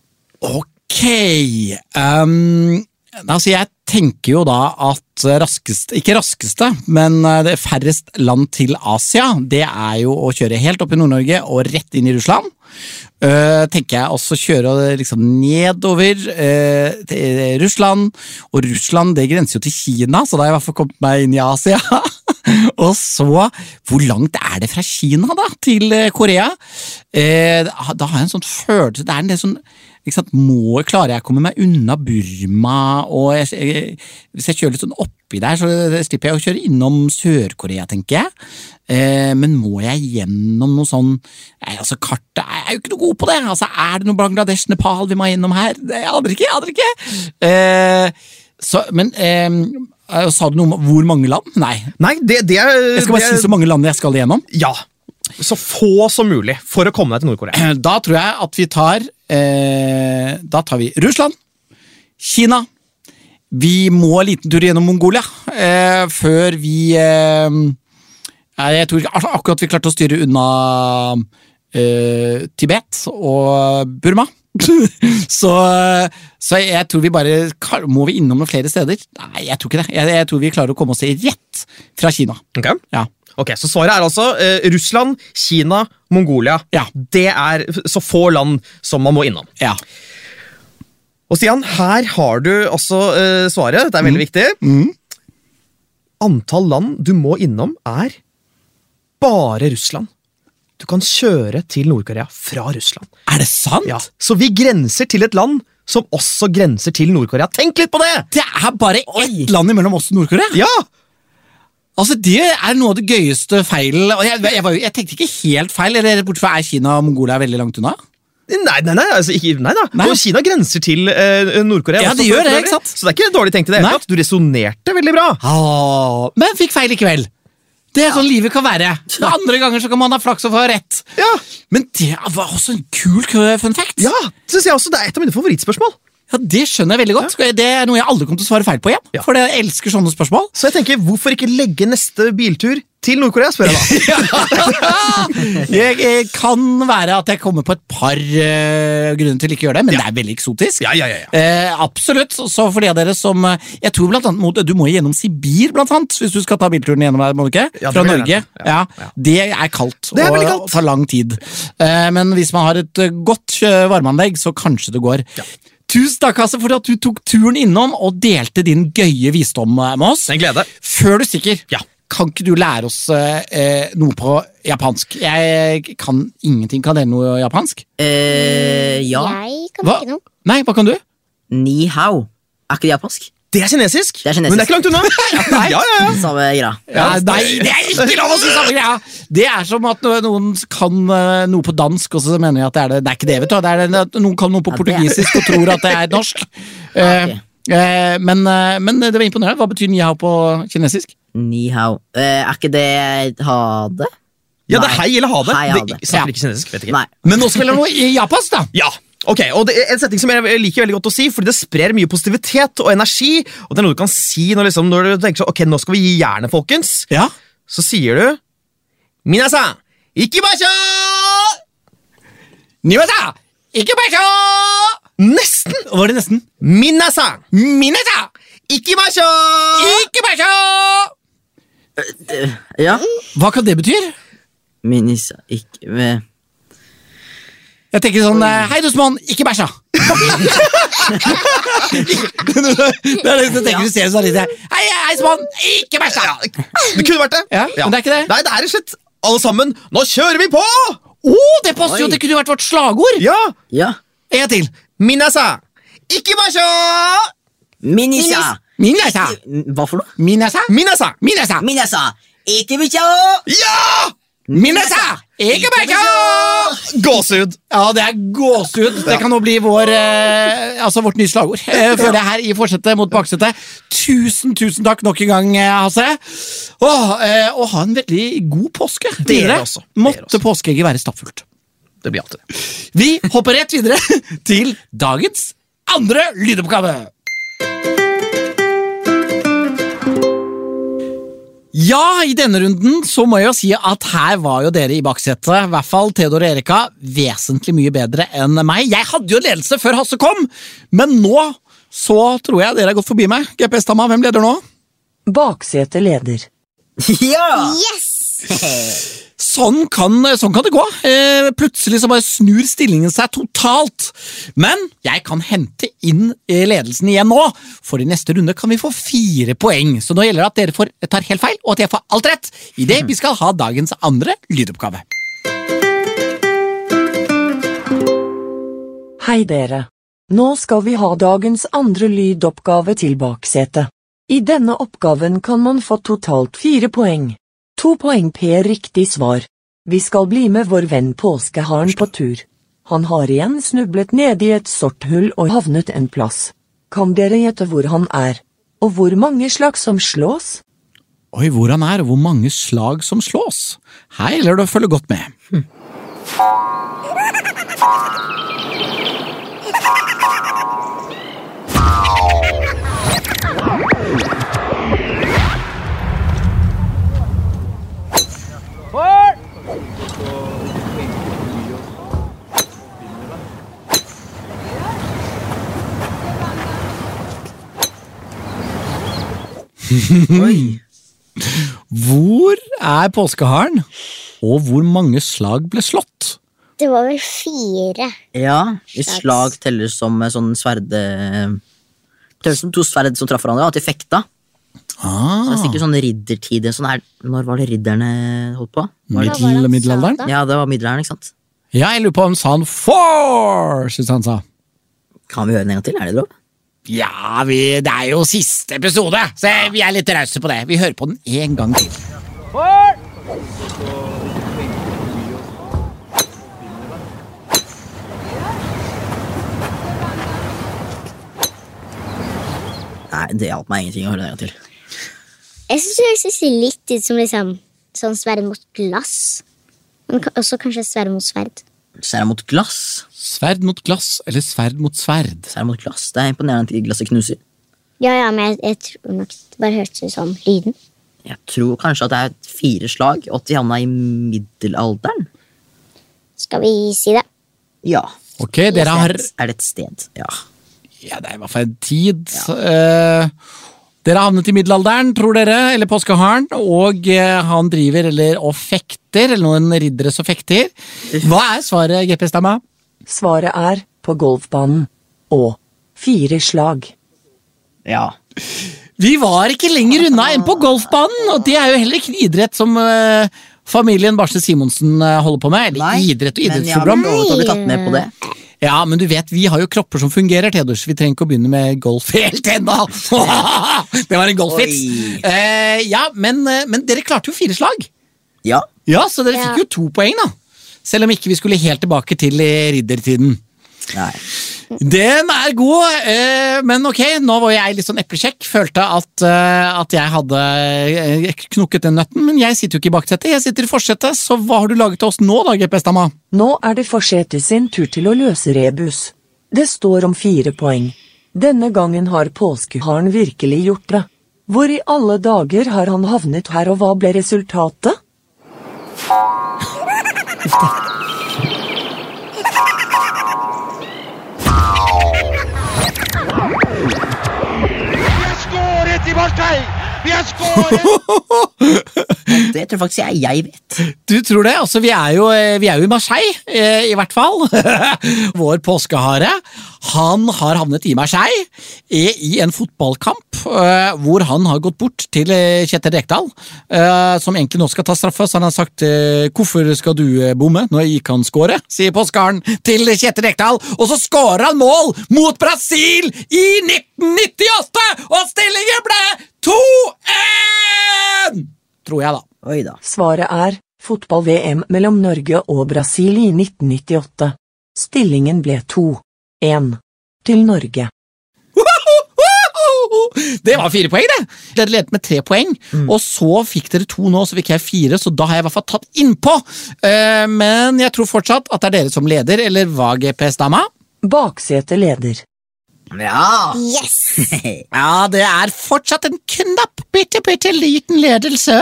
Speaker 2: Ok ehm, Altså, jeg tenker jo da at raskest, ikke raskeste, men eh, det færrest land til Asia, det er jo å kjøre helt opp i Nord-Norge og rett inn i Russland. Eh, tenker jeg også kjøre eh, liksom nedover eh, til eh, Russland, og Russland det grenser jo til Kina, så da har jeg i hvert fall kommet meg inn i Asia. [laughs] og så, hvor langt er det fra Kina da, til eh, Korea? Eh, da har jeg en sånn følelse, det er en del sånn ikke sant, må, Klarer jeg å komme meg unna Burma? og jeg, jeg, Hvis jeg kjører litt sånn oppi der, så slipper jeg å kjøre innom Sør-Korea, tenker jeg. Eh, men må jeg gjennom noe sånn nei, altså Kartet er jeg er jo ikke noe god på det! altså Er det noe Bangladesh, Nepal vi må gjennom her? Det aner ikke! jeg aner ikke! Eh, så, men eh, sa du noe om hvor mange land? Nei.
Speaker 5: Nei, det, det er
Speaker 2: Jeg skal bare
Speaker 5: det er-
Speaker 2: si så mange land jeg skal igjennom. [clears throat]
Speaker 5: Ja. Så få som mulig for å komme deg til Nord-Korea.
Speaker 2: Da tror jeg at vi tar eh, Da tar vi Russland, Kina Vi må en liten tur gjennom Mongolia eh, før vi eh, nei, Jeg tror ikke ak- akkurat vi klarte å styre unna eh, Tibet og Burma. [laughs] så, så jeg tror vi bare ka- Må vi innom noen flere steder? Nei, jeg tror ikke det. Jeg, jeg tror vi klarer å komme oss rett fra Kina.
Speaker 5: Ok?
Speaker 2: Ja.
Speaker 5: Ok, Så svaret er altså eh, Russland, Kina, Mongolia.
Speaker 2: Ja.
Speaker 5: Det er f- så få land som man må innom.
Speaker 2: ja.
Speaker 5: Og Stian, her har du også eh, svaret. Dette er veldig viktig. Antall land du må innom, er bare Russland. Du kan kjøre til Nord-Korea fra Russland.
Speaker 2: Er det sant?
Speaker 5: Ja, Så vi grenser til et land som også grenser til Nord-Korea. Tenk litt på det!
Speaker 2: Det er bare ett land imellom oss og Nord-Korea!
Speaker 5: Ja!
Speaker 2: Altså, Det er noe av det gøyeste feilen og jeg, jeg, var jo, jeg tenkte ikke helt feil, eller bortsett fra er Kina og Mongolia veldig langt unna?
Speaker 5: Nei, nei, nei, altså, ikke, nei da.
Speaker 2: Nei.
Speaker 5: Og Kina grenser til eh, Nord-Korea.
Speaker 2: Ja,
Speaker 5: også,
Speaker 2: de
Speaker 5: for
Speaker 2: gjør det,
Speaker 5: øvrig.
Speaker 2: ikke sant?
Speaker 5: Så det er ikke dårlig tenkt i det hele
Speaker 2: Nei.
Speaker 5: tatt. Du resonnerte veldig bra.
Speaker 2: Ah, men fikk feil likevel. Det er sånn livet kan være. Det er Andre ganger så kan man ha flaks og få rett.
Speaker 5: Ja.
Speaker 2: Men det var også en kul kø- fun fact.
Speaker 5: Ja, synes jeg også Det er et av mine favorittspørsmål.
Speaker 2: Ja, Det skjønner jeg veldig godt. Skal jeg- Det er noe jeg aldri kommer til å svare feil på igjen.
Speaker 5: Ja.
Speaker 2: For jeg elsker sånne spørsmål.
Speaker 5: Så jeg tenker, hvorfor ikke legge neste biltur til Nord-Korea?
Speaker 2: [laughs]
Speaker 5: spør jeg da.
Speaker 2: Jeg, eh, kan være at jeg kommer på et par eh, grunner til ikke å gjøre det, men det er veldig eksotisk.
Speaker 5: Ja, ja, ja, ja.
Speaker 2: Eh, absolutt. Så for de av dere som eh, Jeg tror blant annet mot, Du må gjennom Sibir, blant annet, hvis du skal ta bilturen gjennom der, må du ikke?
Speaker 5: Ja, det
Speaker 2: Fra
Speaker 5: må jeg
Speaker 2: Norge.
Speaker 5: gjerne.
Speaker 2: Ja, Det er kaldt.
Speaker 5: Det er veldig
Speaker 2: og
Speaker 5: kaldt.
Speaker 2: tar lang tid. Eh, men hvis man har et eh, godt eh, varmeanlegg, så kanskje det går. Tusen takk Hasse, for at du tok turen innom og delte din gøye visdom eh, med oss.
Speaker 5: Det er en glede.
Speaker 2: Før du stikker,
Speaker 5: Ja.
Speaker 2: kan ikke du lære oss eh, eh, noe på japansk? Jeg kan ingenting. Kan dere noe japansk?
Speaker 3: Eh, ja.
Speaker 4: Jeg kan
Speaker 2: Hva?
Speaker 4: ikke noe.
Speaker 2: Nei, hva kan du?
Speaker 3: Ni hao. Er ikke det japansk?
Speaker 5: Det er kinesisk,
Speaker 3: Det er kinesisk.
Speaker 5: men det er ikke
Speaker 2: [laughs]
Speaker 5: langt unna. ja, ja, ja.
Speaker 3: Samme greia.
Speaker 2: Ja, nei, det er ikke lov å si samme greia! Det er som at no- noen kan eh, noe på dansk, og så mener jeg at det er det. Det er ikke det, vet du. Det er det, at noen kan noe på
Speaker 3: Ja, det er-
Speaker 2: portugisisk og tror at det er
Speaker 3: [laughs]
Speaker 2: norsk. Eh, eh, men, eh, men det var imponerende. Hva betyr ni hao på kinesisk?
Speaker 3: Ni hao. Eh, er ikke det ha det?
Speaker 5: ja, det er
Speaker 3: Nei.
Speaker 5: hei eller ha det.
Speaker 3: Hei, ha
Speaker 5: det.
Speaker 3: det.
Speaker 5: Snakker ikke kinesisk, vet ikke.
Speaker 3: Nei.
Speaker 2: Men nå spiller vi noe i japansk, da!
Speaker 5: Ja, ok, og det er En setning som jeg liker veldig godt å si, fordi det sprer mye positivitet og energi. og Det er noe du kan si når, liksom, når du tenker sånn Ok, nå skal vi gi jernet, folkens.
Speaker 2: Ja.
Speaker 5: Så sier du Minasan, ikibasho!
Speaker 2: Nimasa! Ikke bæsja!
Speaker 5: Nesten!
Speaker 2: Var det nesten?
Speaker 5: Minasan,
Speaker 2: Minasa!
Speaker 5: ikibasho!
Speaker 2: Ikke bæsja!
Speaker 3: Ja.
Speaker 2: Hva kan det betyr?
Speaker 3: Minis... Ikke eh,
Speaker 2: Jeg tenker sånn eh, Hei, Dusman, ikke bæsja! det er [laughs] det jeg tenker du ser sånn litt Hei, hei, Sman, ikke bæsja!
Speaker 5: Det kunne vært det.
Speaker 2: Ja, men det er ikke det.
Speaker 5: Nei, det er rett og slett alle sammen. Nå kjører vi på!
Speaker 2: Å, det passer jo!
Speaker 3: Oi.
Speaker 2: Det kunne jo vært vårt slagord!
Speaker 5: Ja!
Speaker 3: Ja.
Speaker 2: En gang til.
Speaker 5: Minasan, ikibasho!
Speaker 3: Minisa!
Speaker 2: Minasa!
Speaker 3: Hva for noe?
Speaker 2: Minasa!
Speaker 5: Minasan.
Speaker 2: Minasa!
Speaker 3: Minasa! Ikke bikkja!
Speaker 5: Ja!
Speaker 2: Minasa! Ikke bæsja!
Speaker 5: Gåsehud.
Speaker 2: Ja, det er gåsehud. Det kan nå bli vår, eh, altså vårt nye slagord. Eh, Føler jeg her i forsetet mot baksetet. Tusen, tusen takk nok en gang, eh, Hasse. Åh, eh, og ha en veldig god påske. videre.
Speaker 5: også. Dere
Speaker 2: Måtte
Speaker 5: også.
Speaker 2: påskeegget være stappfullt.
Speaker 5: Det blir alltid det.
Speaker 2: Vi hopper rett videre [laughs] til dagens andre lydoppgave. Ja, i denne runden så må jeg jo si at her var jo dere i baksetet, i hvert fall Theodor og Erika, vesentlig mye bedre enn meg. Jeg hadde jo ledelse før Hasse kom, men nå så tror jeg dere har gått forbi meg. GPS-Tamma, hvem leder nå?
Speaker 1: Baksete leder.
Speaker 3: Ja!
Speaker 4: Yes!
Speaker 2: Sånn kan, sånn kan det gå. Eh, plutselig så bare snur stillingen seg totalt. Men jeg kan hente inn eh, ledelsen igjen nå, for i neste runde kan vi få fire poeng. Så nå gjelder det at dere får, tar helt feil, og at jeg får alt rett idet vi skal ha dagens andre lydoppgave.
Speaker 1: Hei dere. Nå skal vi ha dagens andre lydoppgave til baksetet. I denne oppgaven kan man få totalt fire poeng. To poeng per riktig svar. Vi skal bli med vår venn påskeharen på tur. Han har igjen snublet ned i et sort hull og havnet en plass. Kan dere gjette hvor han er? Og hvor mange slag som slås?
Speaker 2: Oi, hvor han er og hvor mange slag som slås. Her gjelder det å følge godt med. Mm.
Speaker 6: Oi.
Speaker 2: Hvor er påskeharen, og hvor mange slag ble slått?
Speaker 4: Det var vel fire.
Speaker 3: Ja, hvis slag teller som eh, sånn sverd eh, Teller som to sverd som traff hverandre, at de fekta. Så
Speaker 2: Ah,
Speaker 3: det er sikkert sånn riddertid. en Sånn er, når var det ridderne holdt på? Var det, sånn?
Speaker 4: Hva var det han
Speaker 2: middelalderen?
Speaker 4: sa da?
Speaker 3: ja, det var middelalderen, ikke sant?
Speaker 2: ja, jeg lurer på om sa han four, synes han sa.
Speaker 3: Kan vi høre den en gang til? Er det lov?
Speaker 2: Ja, vi, det er jo siste episode, så vi er litt rause på det. Vi hører på den en gang til.
Speaker 3: Nei, det hjalp meg ingenting å høre den en gang til.
Speaker 4: Jeg syns det høres litt ut som liksom, sånn sverd mot glass. Men ka- også kanskje sverd mot sverd.
Speaker 3: Sverd mot glass.
Speaker 2: Sverd mot glass eller sverd mot sverd?
Speaker 3: Sverd mot glass. Det er imponerende at glasset knuser.
Speaker 4: Ja, ja, men jeg, jeg tror nok det bare hørtes ut som lyden.
Speaker 3: Jeg tror kanskje at det er fire slag, og at de havna i middelalderen.
Speaker 4: Skal vi si det?
Speaker 3: Ja.
Speaker 2: Ok, dere har
Speaker 3: Er det et sted? Ja.
Speaker 2: Ja, det er i hvert fall en tid. Eh, dere har havnet i middelalderen, tror dere, eller påskeharen, og eh, han driver eller og fekter, eller noen riddere som fekter. Hva er svaret, GPS Stamma?
Speaker 1: Svaret er på golfbanen. Og fire slag.
Speaker 3: ja.
Speaker 2: Vi var ikke lenger unna enn på golfbanen, og det er jo heller ikke en idrett som eh, familien Barsle Simonsen eh, holder på med. Eller idrett og
Speaker 3: men jeg har
Speaker 2: idrettsprogram.
Speaker 3: blitt lovet å bli tatt med på det.
Speaker 2: Ja, men du vet, vi har jo kropper som fungerer, Theodor, så vi trenger ikke å begynne med golf [laughs] helt
Speaker 3: [laughs]
Speaker 2: ennå! det var en golfvits.
Speaker 3: Oi.
Speaker 2: Eh, ja, men, eh, men dere klarte jo fire slag.
Speaker 3: Ja.
Speaker 2: Ja, så dere
Speaker 4: Ja.
Speaker 2: fikk jo to poeng, da. Selv om ikke vi skulle helt tilbake til eh, riddertiden.
Speaker 3: Nei.
Speaker 2: Den er god, eh, men ok, nå var jeg litt sånn eplesjekk. Følte at, eh, at jeg hadde eh, knukket den nøtten, men jeg sitter jo ikke i baksetet, jeg sitter i forsetet. Så hva har du laget til oss nå da, GPS-dama?
Speaker 1: Nå er det forsetet sin tur til å løse rebus. Det står om fire poeng. Denne gangen har påskeharen virkelig gjort det. Hvor i alle dager har han havnet her, og hva ble resultatet?
Speaker 3: Det tror faktisk jeg jeg vet.
Speaker 2: Du tror det? Altså, vi er jo, eh, vi er jo i Marseille, eh, i hvert fall. [laughs] Vår påskehare. Han har havnet i Marseille eh, i en fotballkamp eh, hvor han har gått bort til eh, Kjetil Rekdal, eh, som egentlig nå skal ta straffa. Så han har sagt eh, 'Hvorfor skal du eh, bomme? Nå gikk han score', sier påskeharen til Kjetil Rekdal. Og så scorer han mål mot Brasil i 1998! Og stillingen ble 2-1! Tror jeg, da.
Speaker 3: Oi da.
Speaker 1: Svaret er fotball-VM mellom Norge og Brasil i 1998. Stillingen ble 2-1 til Norge.
Speaker 2: Det var fire poeng, det! Dere ledet med tre poeng, og så fikk dere to nå, så fikk jeg fire, så da har jeg i hvert fall tatt innpå. Eh, Men jeg tror fortsatt at det er dere som leder, eller hva, GPS-dama?
Speaker 1: Baksetet leder.
Speaker 3: Ja. [laughs]
Speaker 4: Yes!
Speaker 2: Ja, det er fortsatt en knapp bitte, bitte liten ledelse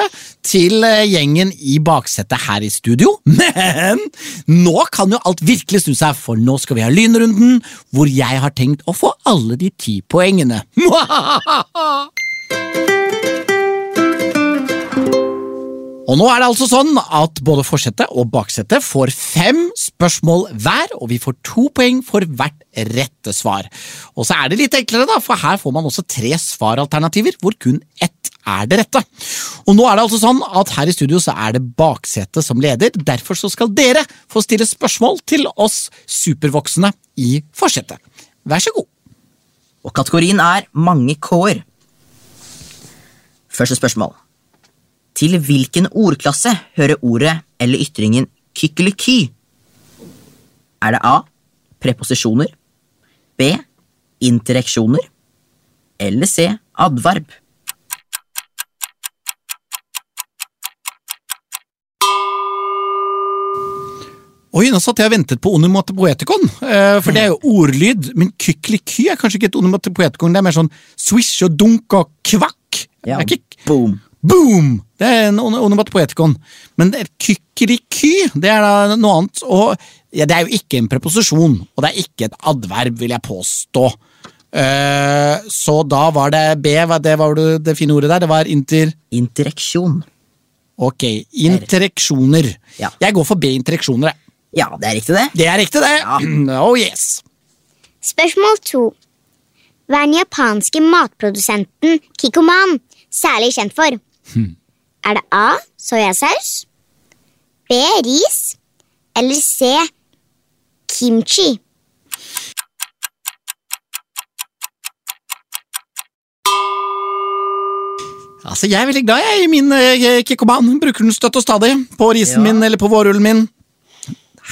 Speaker 2: til eh, gjengen i baksetet her i studio. [laughs] Men nå kan jo alt virkelig snu seg, for nå skal vi ha lynrunden, hvor jeg har tenkt å få alle de ti poengene. [laughs] Og nå er det altså sånn at både forsetet og baksetet får fem spørsmål hver, og vi får to poeng for hvert rette svar. Og så er det litt enklere, da, for her får man også tre svaralternativer, hvor kun ett er det rette. Og nå er det altså sånn at her i studio så er det baksetet som leder, derfor så skal dere få stille spørsmål til oss supervoksne i forsetet. Vær så god.
Speaker 3: Og kategorien er mange k-er. Første spørsmål. Til hvilken ordklasse hører ordet eller ytringen kykkeliky? Er det A. Preposisjoner. B. Interreksjoner. Eller C. Adverb.
Speaker 2: Oi, nå satt jeg og ventet på onomatopoetikon, eh, for det er jo ordlyd. Men kykkeliky er kanskje ikke et onomatopoetikon, det er mer sånn swish og dunk og kvakk. Det
Speaker 3: Ja,
Speaker 2: er ikke
Speaker 3: boom.
Speaker 2: Boom! Det er en ono- onomatopoetikon. Men det er kykkeliky, det er da noe annet. Og ja, det er jo ikke en preposisjon, og det er ikke et adverb, vil jeg påstå. Eh, så da var det B, hva- det var det, det fine ordet der. Det var inter...
Speaker 3: Interreksjon.
Speaker 2: Ok, interreksjoner.
Speaker 3: Ja.
Speaker 2: Jeg går for B-interreksjoner, jeg.
Speaker 3: Ja, det er riktig, det.
Speaker 2: Det er riktig, det! [clears throat] Oh yes!
Speaker 4: Spørsmål to. Hva er den japanske matprodusenten Kikkoman særlig kjent for? Er det A. Soyasaus? B. Ris? Eller C. Kimchi?
Speaker 2: Altså, Jeg er veldig glad jeg, i min eh, Kikkoman. Bruker den støtt og stadig. På risen min eller på vårrullen min.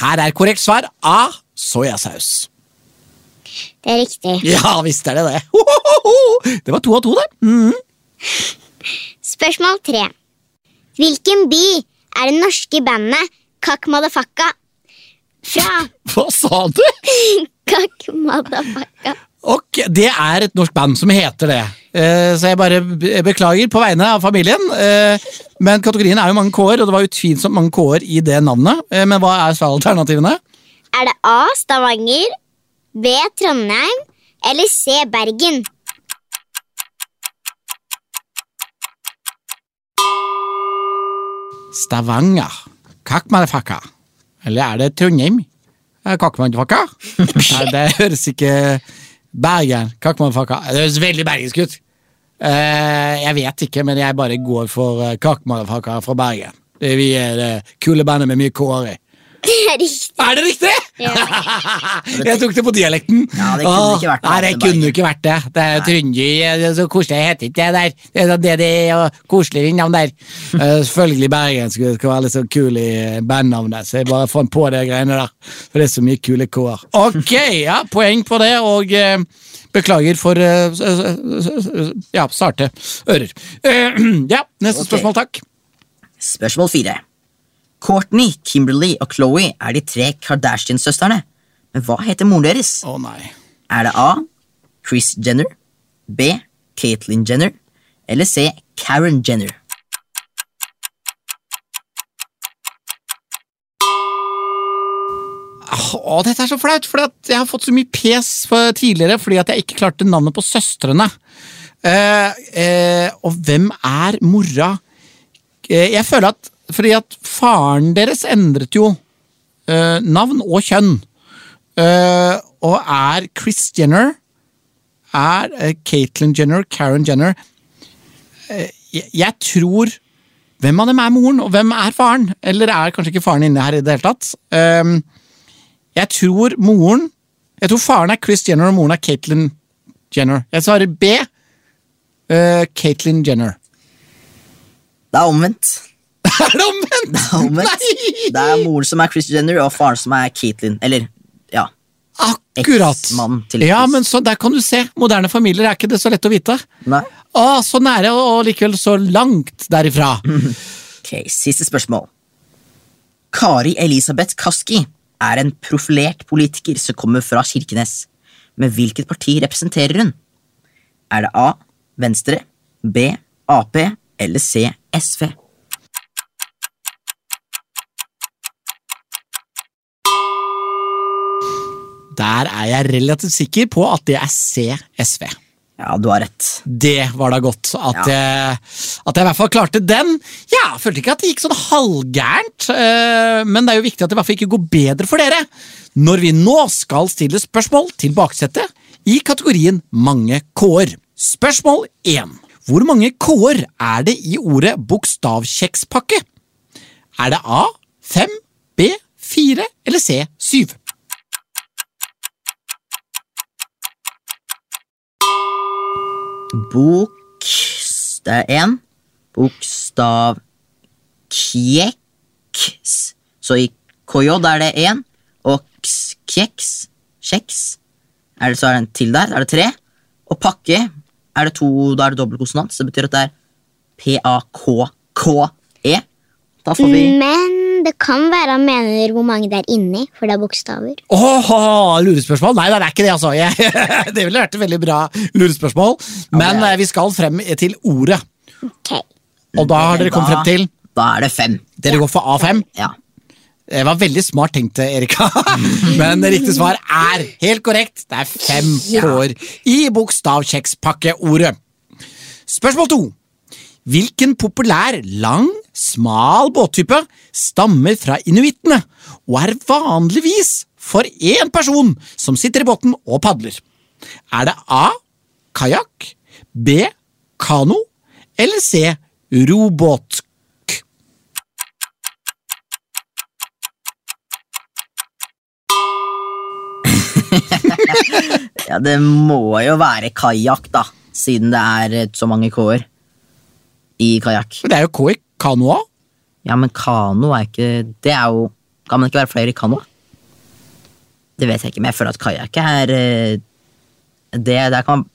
Speaker 2: Her er korrekt svar A. Soyasaus. [laughs]
Speaker 4: Det er riktig.
Speaker 2: Ja visst er det det. Hohoho! Det var to av to, det. Mm.
Speaker 4: Spørsmål tre. Hvilken by er det norske bandet Kakk Madafakka fra? [laughs]
Speaker 2: Hva sa du?
Speaker 4: Kakk Madafakka.
Speaker 2: Ok, Det er et norsk band som heter det. Eh, så jeg bare be- beklager på vegne av familien. eh, men kategorien er jo mange k-er, og det var utvilsomt mange k-er i det navnet. Eh, men hva er svaralternativene?
Speaker 4: Er det A. Stavanger, B. Trondheim eller C. Bergen? [laughs]
Speaker 2: Stavanger. Kakmanfakka. Eller er det Trondheim? Eh, Kakmanfakka? Nei, det høres ikke Bergen. Kakmanfakka. Det høres veldig bergensk ut. Eh, jeg vet ikke, men jeg bare går for eh, Kakmanfakka fra Bergen. Det er vi er det kule bandet med mye k-er i.
Speaker 4: Det er riktig.
Speaker 2: Er det riktig?! [laughs] jeg tok det på dialekten.
Speaker 3: Ja, det kunne
Speaker 2: Åh,
Speaker 3: ikke vært
Speaker 2: Nei, det
Speaker 3: noe annet enn
Speaker 2: kunne ikke vært det. Det er Trøndi, det er så koselig jeg heter ikke det der. Det er sånn det de og koselige navn
Speaker 3: [laughs]
Speaker 2: der. Eh, Selvfølgelig bergensk, det skal være litt sånn kul i bandnavnet, så jeg bare fant på de greiene der. For det er så mye kule k-er.
Speaker 3: [laughs]
Speaker 2: Ok, ja, poeng på det, og eh, beklager for eh, s- s- s- s- ja, sarte ører. Eh, [clears throat] ja, neste
Speaker 3: Ok.
Speaker 2: spørsmål, takk.
Speaker 3: Spørsmål fire. Courtney, Kimberly og Chloé er de tre Kardashian-søstrene. Men hva heter moren deres?
Speaker 2: Å nei.
Speaker 3: Er det A. Chris Jenner, B. Caitlyn Jenner eller C. Karen Jenner?
Speaker 2: Åh, dette er så flaut, for jeg har fått så mye pes for tidligere fordi at jeg ikke klarte navnet på søstrene. Eh, eh, og hvem er mora? Eh, jeg føler at Fordi at faren deres endret jo eh, navn og kjønn. Eh, og er Chris Jenner Er eh, Caitlyn Jenner, Karen Jenner Eh, jeg, jeg tror Hvem av dem er moren, og hvem er faren? Eller er kanskje ikke faren inne her i det hele tatt? Um, jeg tror moren Jeg tror faren er Chris Jenner, og moren er Caitlyn Jenner. Jeg svarer B. Uh, Caitlyn Jenner. [laughs]
Speaker 3: Det er omvendt.
Speaker 2: Er det omvendt?!
Speaker 3: Det er, omvendt.
Speaker 2: Nei!
Speaker 3: Det er moren som er Chris Jenner, og faren som er Caitlyn. Eller, ja.
Speaker 2: Akkurat!
Speaker 3: Eksmannen til
Speaker 2: Ja,
Speaker 3: Chris.
Speaker 2: men så Der kan du se. Moderne familier er ikke det så lett å vite.
Speaker 3: Nei.
Speaker 2: Å, så nære, og likevel så langt derifra.
Speaker 3: Mm. Ok, Siste spørsmål. Kari Elisabeth Kaski er en profilert politiker som kommer fra Kirkenes. Men hvilket parti representerer hun? Er det A. Venstre, B. Ap eller C. SV?
Speaker 2: Der er jeg relativt sikker på at det er CSV.
Speaker 3: Ja, du har rett.
Speaker 2: Det var da godt at, jeg, at jeg i hvert fall klarte den. Ja, jeg følte ikke at det gikk sånn halvgærent, eh, men det er jo viktig at det i hvert fall ikke går bedre for dere når vi nå skal stille spørsmål til baksetet i kategorien mange k-er. Spørsmål 1. Hvor mange k-er er det i ordet bokstavkjekspakke? Er det A 5, B 4 eller C 7?
Speaker 3: Bok Det er én. Bokstav kjeks. Så i KJ er det én, og ks- kjeks Kjeks. Er det, så er det en til der. Er det tre. Og pakke er det to, da er det dobbel konsonant, så det betyr at det er P-A-K-K-E. E. Da får vi
Speaker 4: Mm. Men det kan være han mener hvor mange det er inni, for det er bokstaver.
Speaker 2: Åh, lurespørsmål? Nei, nei, det er ikke det, altså. Jeg, [laughs] det ville vært et veldig bra lurespørsmål. Men eh, vi skal frem til ordet.
Speaker 4: Ok.
Speaker 2: Og da har dere kommet frem til
Speaker 3: Da er det fem.
Speaker 2: Dere går for A5.
Speaker 3: Ja.
Speaker 2: Det var veldig smart tenkt, Erika. Men riktig svar er helt korrekt. Det er fem år i bokstavkjekspakkeordet. Spørsmål to. Hvilken populær, lang, smal båttype stammer fra inuittene og er vanligvis for én person som sitter i båten og padler? Er det A. Kajakk, B. Kano eller C. Robåt?
Speaker 3: ja, det må jo være kajakk, da. Siden det er eh, så mange K-er i kajakk.
Speaker 2: Det er jo K i kanoa.
Speaker 3: Ja, men kano er ikke Det er jo Kan man ikke være flere i kano? Det vet jeg ikke, men jeg føler at kajakk er eh, Det der kan man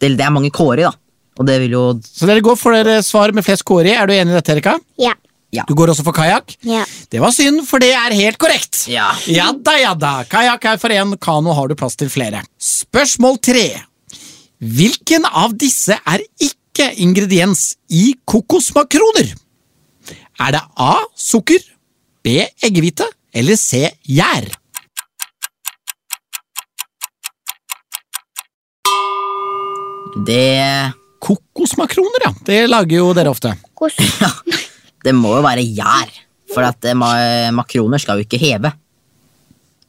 Speaker 3: Det, det er mange K-er i, da. Og det vil jo
Speaker 2: Så dere går for dere svar med flest kåre. Er du enig i dette, Erika?
Speaker 4: Ja.
Speaker 3: Ja.
Speaker 2: Du går også for kajakk?
Speaker 4: Ja.
Speaker 2: Det var synd, for det er helt korrekt.
Speaker 3: Ja.
Speaker 2: ja da, ja da. Kajakk er for én, kano har du plass til flere. Spørsmål tre. Hvilken av disse er ikke ingrediens i kokosmakroner? Er det A. Sukker, B. Eggehvite eller C. Gjær?
Speaker 3: Det
Speaker 2: Kokosmakroner, ja. Det lager jo dere ofte.
Speaker 4: Kos.
Speaker 3: Ja, det må jo være gjær. For at eh, ma makroner skal jo ikke heve.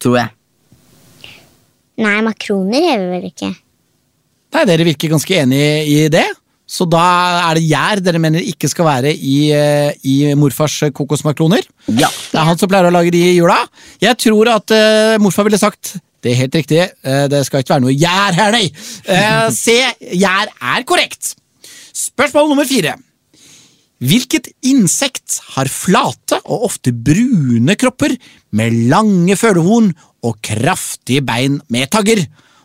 Speaker 3: Tror jeg.
Speaker 4: Nei, makroner hever vel ikke.
Speaker 2: Nei, dere virker ganske enige i det. Så da er det gjær dere mener ikke skal være i, eh, i morfars kokosmakroner.
Speaker 3: Ja.
Speaker 2: Det er han som pleier å lage de i jula. Jeg tror at eh, morfar ville sagt det er helt riktig, eh, det skal ikke være noe gjær her, nei. Eh, se, gjær er korrekt. Spørsmål nummer fire. Hvilket insekt har flate og ofte brune kropper med lange følehorn og kraftige bein med tagger,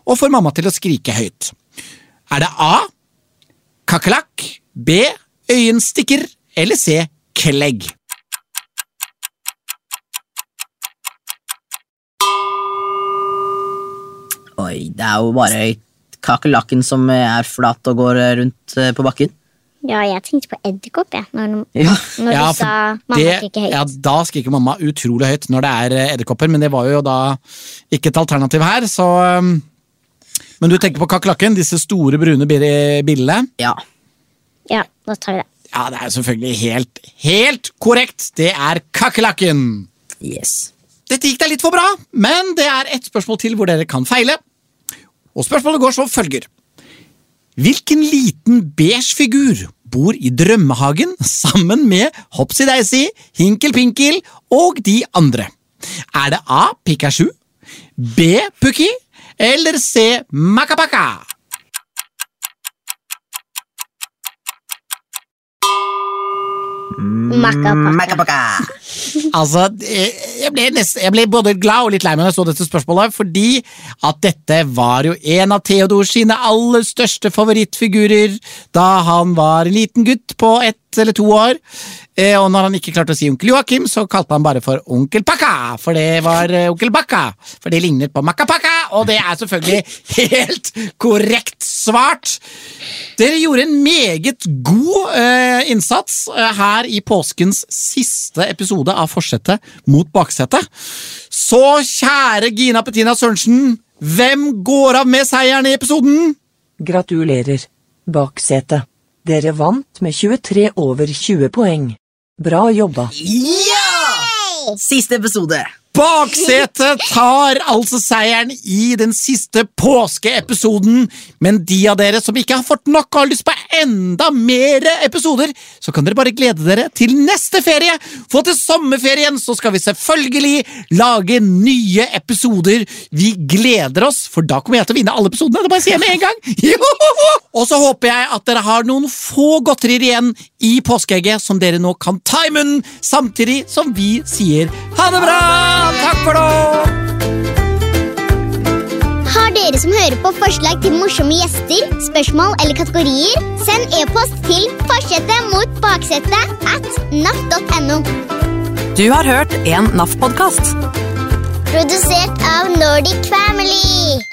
Speaker 2: og får mamma til å skrike høyt? Er det A. Kakerlakk, B. Øyenstikker eller C. Klegg?
Speaker 3: Oi, det er jo bare kakerlakken som eh, er flat og går eh, rundt eh, på bakken.
Speaker 4: Ja, jeg tenkte på edderkopp, jeg, når,
Speaker 3: Ja.
Speaker 4: når
Speaker 2: Ja,
Speaker 4: du
Speaker 2: for
Speaker 4: sa mamma
Speaker 2: det-
Speaker 4: skriker høyt.
Speaker 2: Ja, da skriker mamma utrolig høyt når det er eh, edderkopper, men det var jo da ikke et alternativ her, så um, Men du tenker på kakerlakken, disse store, brune bir- billene.
Speaker 3: ja.
Speaker 4: Ja, da tar vi det.
Speaker 2: Ja, det er jo selvfølgelig helt, helt korrekt! Det er kakerlakken!
Speaker 3: Yes.
Speaker 2: Dette gikk deg litt for bra, men det er ett spørsmål til hvor dere kan feile. Og spørsmålet går som følger. Hvilken liten beige figur bor i drømmehagen sammen med Hopsi Daisy, Hinkel Pinkel og de andre? Er det A. Pikachu, B. Pukki eller C. Makapaka?
Speaker 4: Makapaka.
Speaker 3: Makapaka.
Speaker 2: Altså, eh, jeg ble, nest, jeg ble både glad og litt lei meg når jeg så dette spørsmålet, fordi at dette var jo en av Theodor sine aller største favorittfigurer da han var en liten gutt på ett eller to år. Eh, Og når han ikke klarte å si onkel Joakim, så kalte han bare for onkel Pakka, for det var eh, onkel Bakka, for det lignet på Makkapakka, og det er selvfølgelig [laughs] helt korrekt svart. Dere gjorde en meget god eh, innsats eh, her i påskens siste episode av Forsetet mot baksetet. Så kjære Gina Petina Sørensen, hvem går av med seieren i episoden?
Speaker 1: Gratulerer. Baksete. Dere vant med 23 over 20 poeng. Bra jobba.
Speaker 3: Ja! Siste episode.
Speaker 2: Baksetet tar altså seieren i den siste påskeepisoden, men de av dere som ikke har fått nok og har lyst på enda mer episoder, så kan dere bare glede dere til neste ferie, for til sommerferien så skal vi selvfølgelig lage nye episoder. Vi gleder oss, for da kommer jeg til å vinne alle episodene, det bare sier jeg med en gang. [laughs] Johoho! Og så håper jeg at dere har noen få godterier igjen i påskeegget som dere nå kan ta i munnen, samtidig som vi sier ha det bra! Takk for nå!
Speaker 4: Har dere som hører på forslag til morsomme gjester, spørsmål eller kategorier, send e-post til forsetet mot baksetet at naff.no.
Speaker 7: Du har hørt en NAF-podkast.
Speaker 4: Produsert av Nordic Family.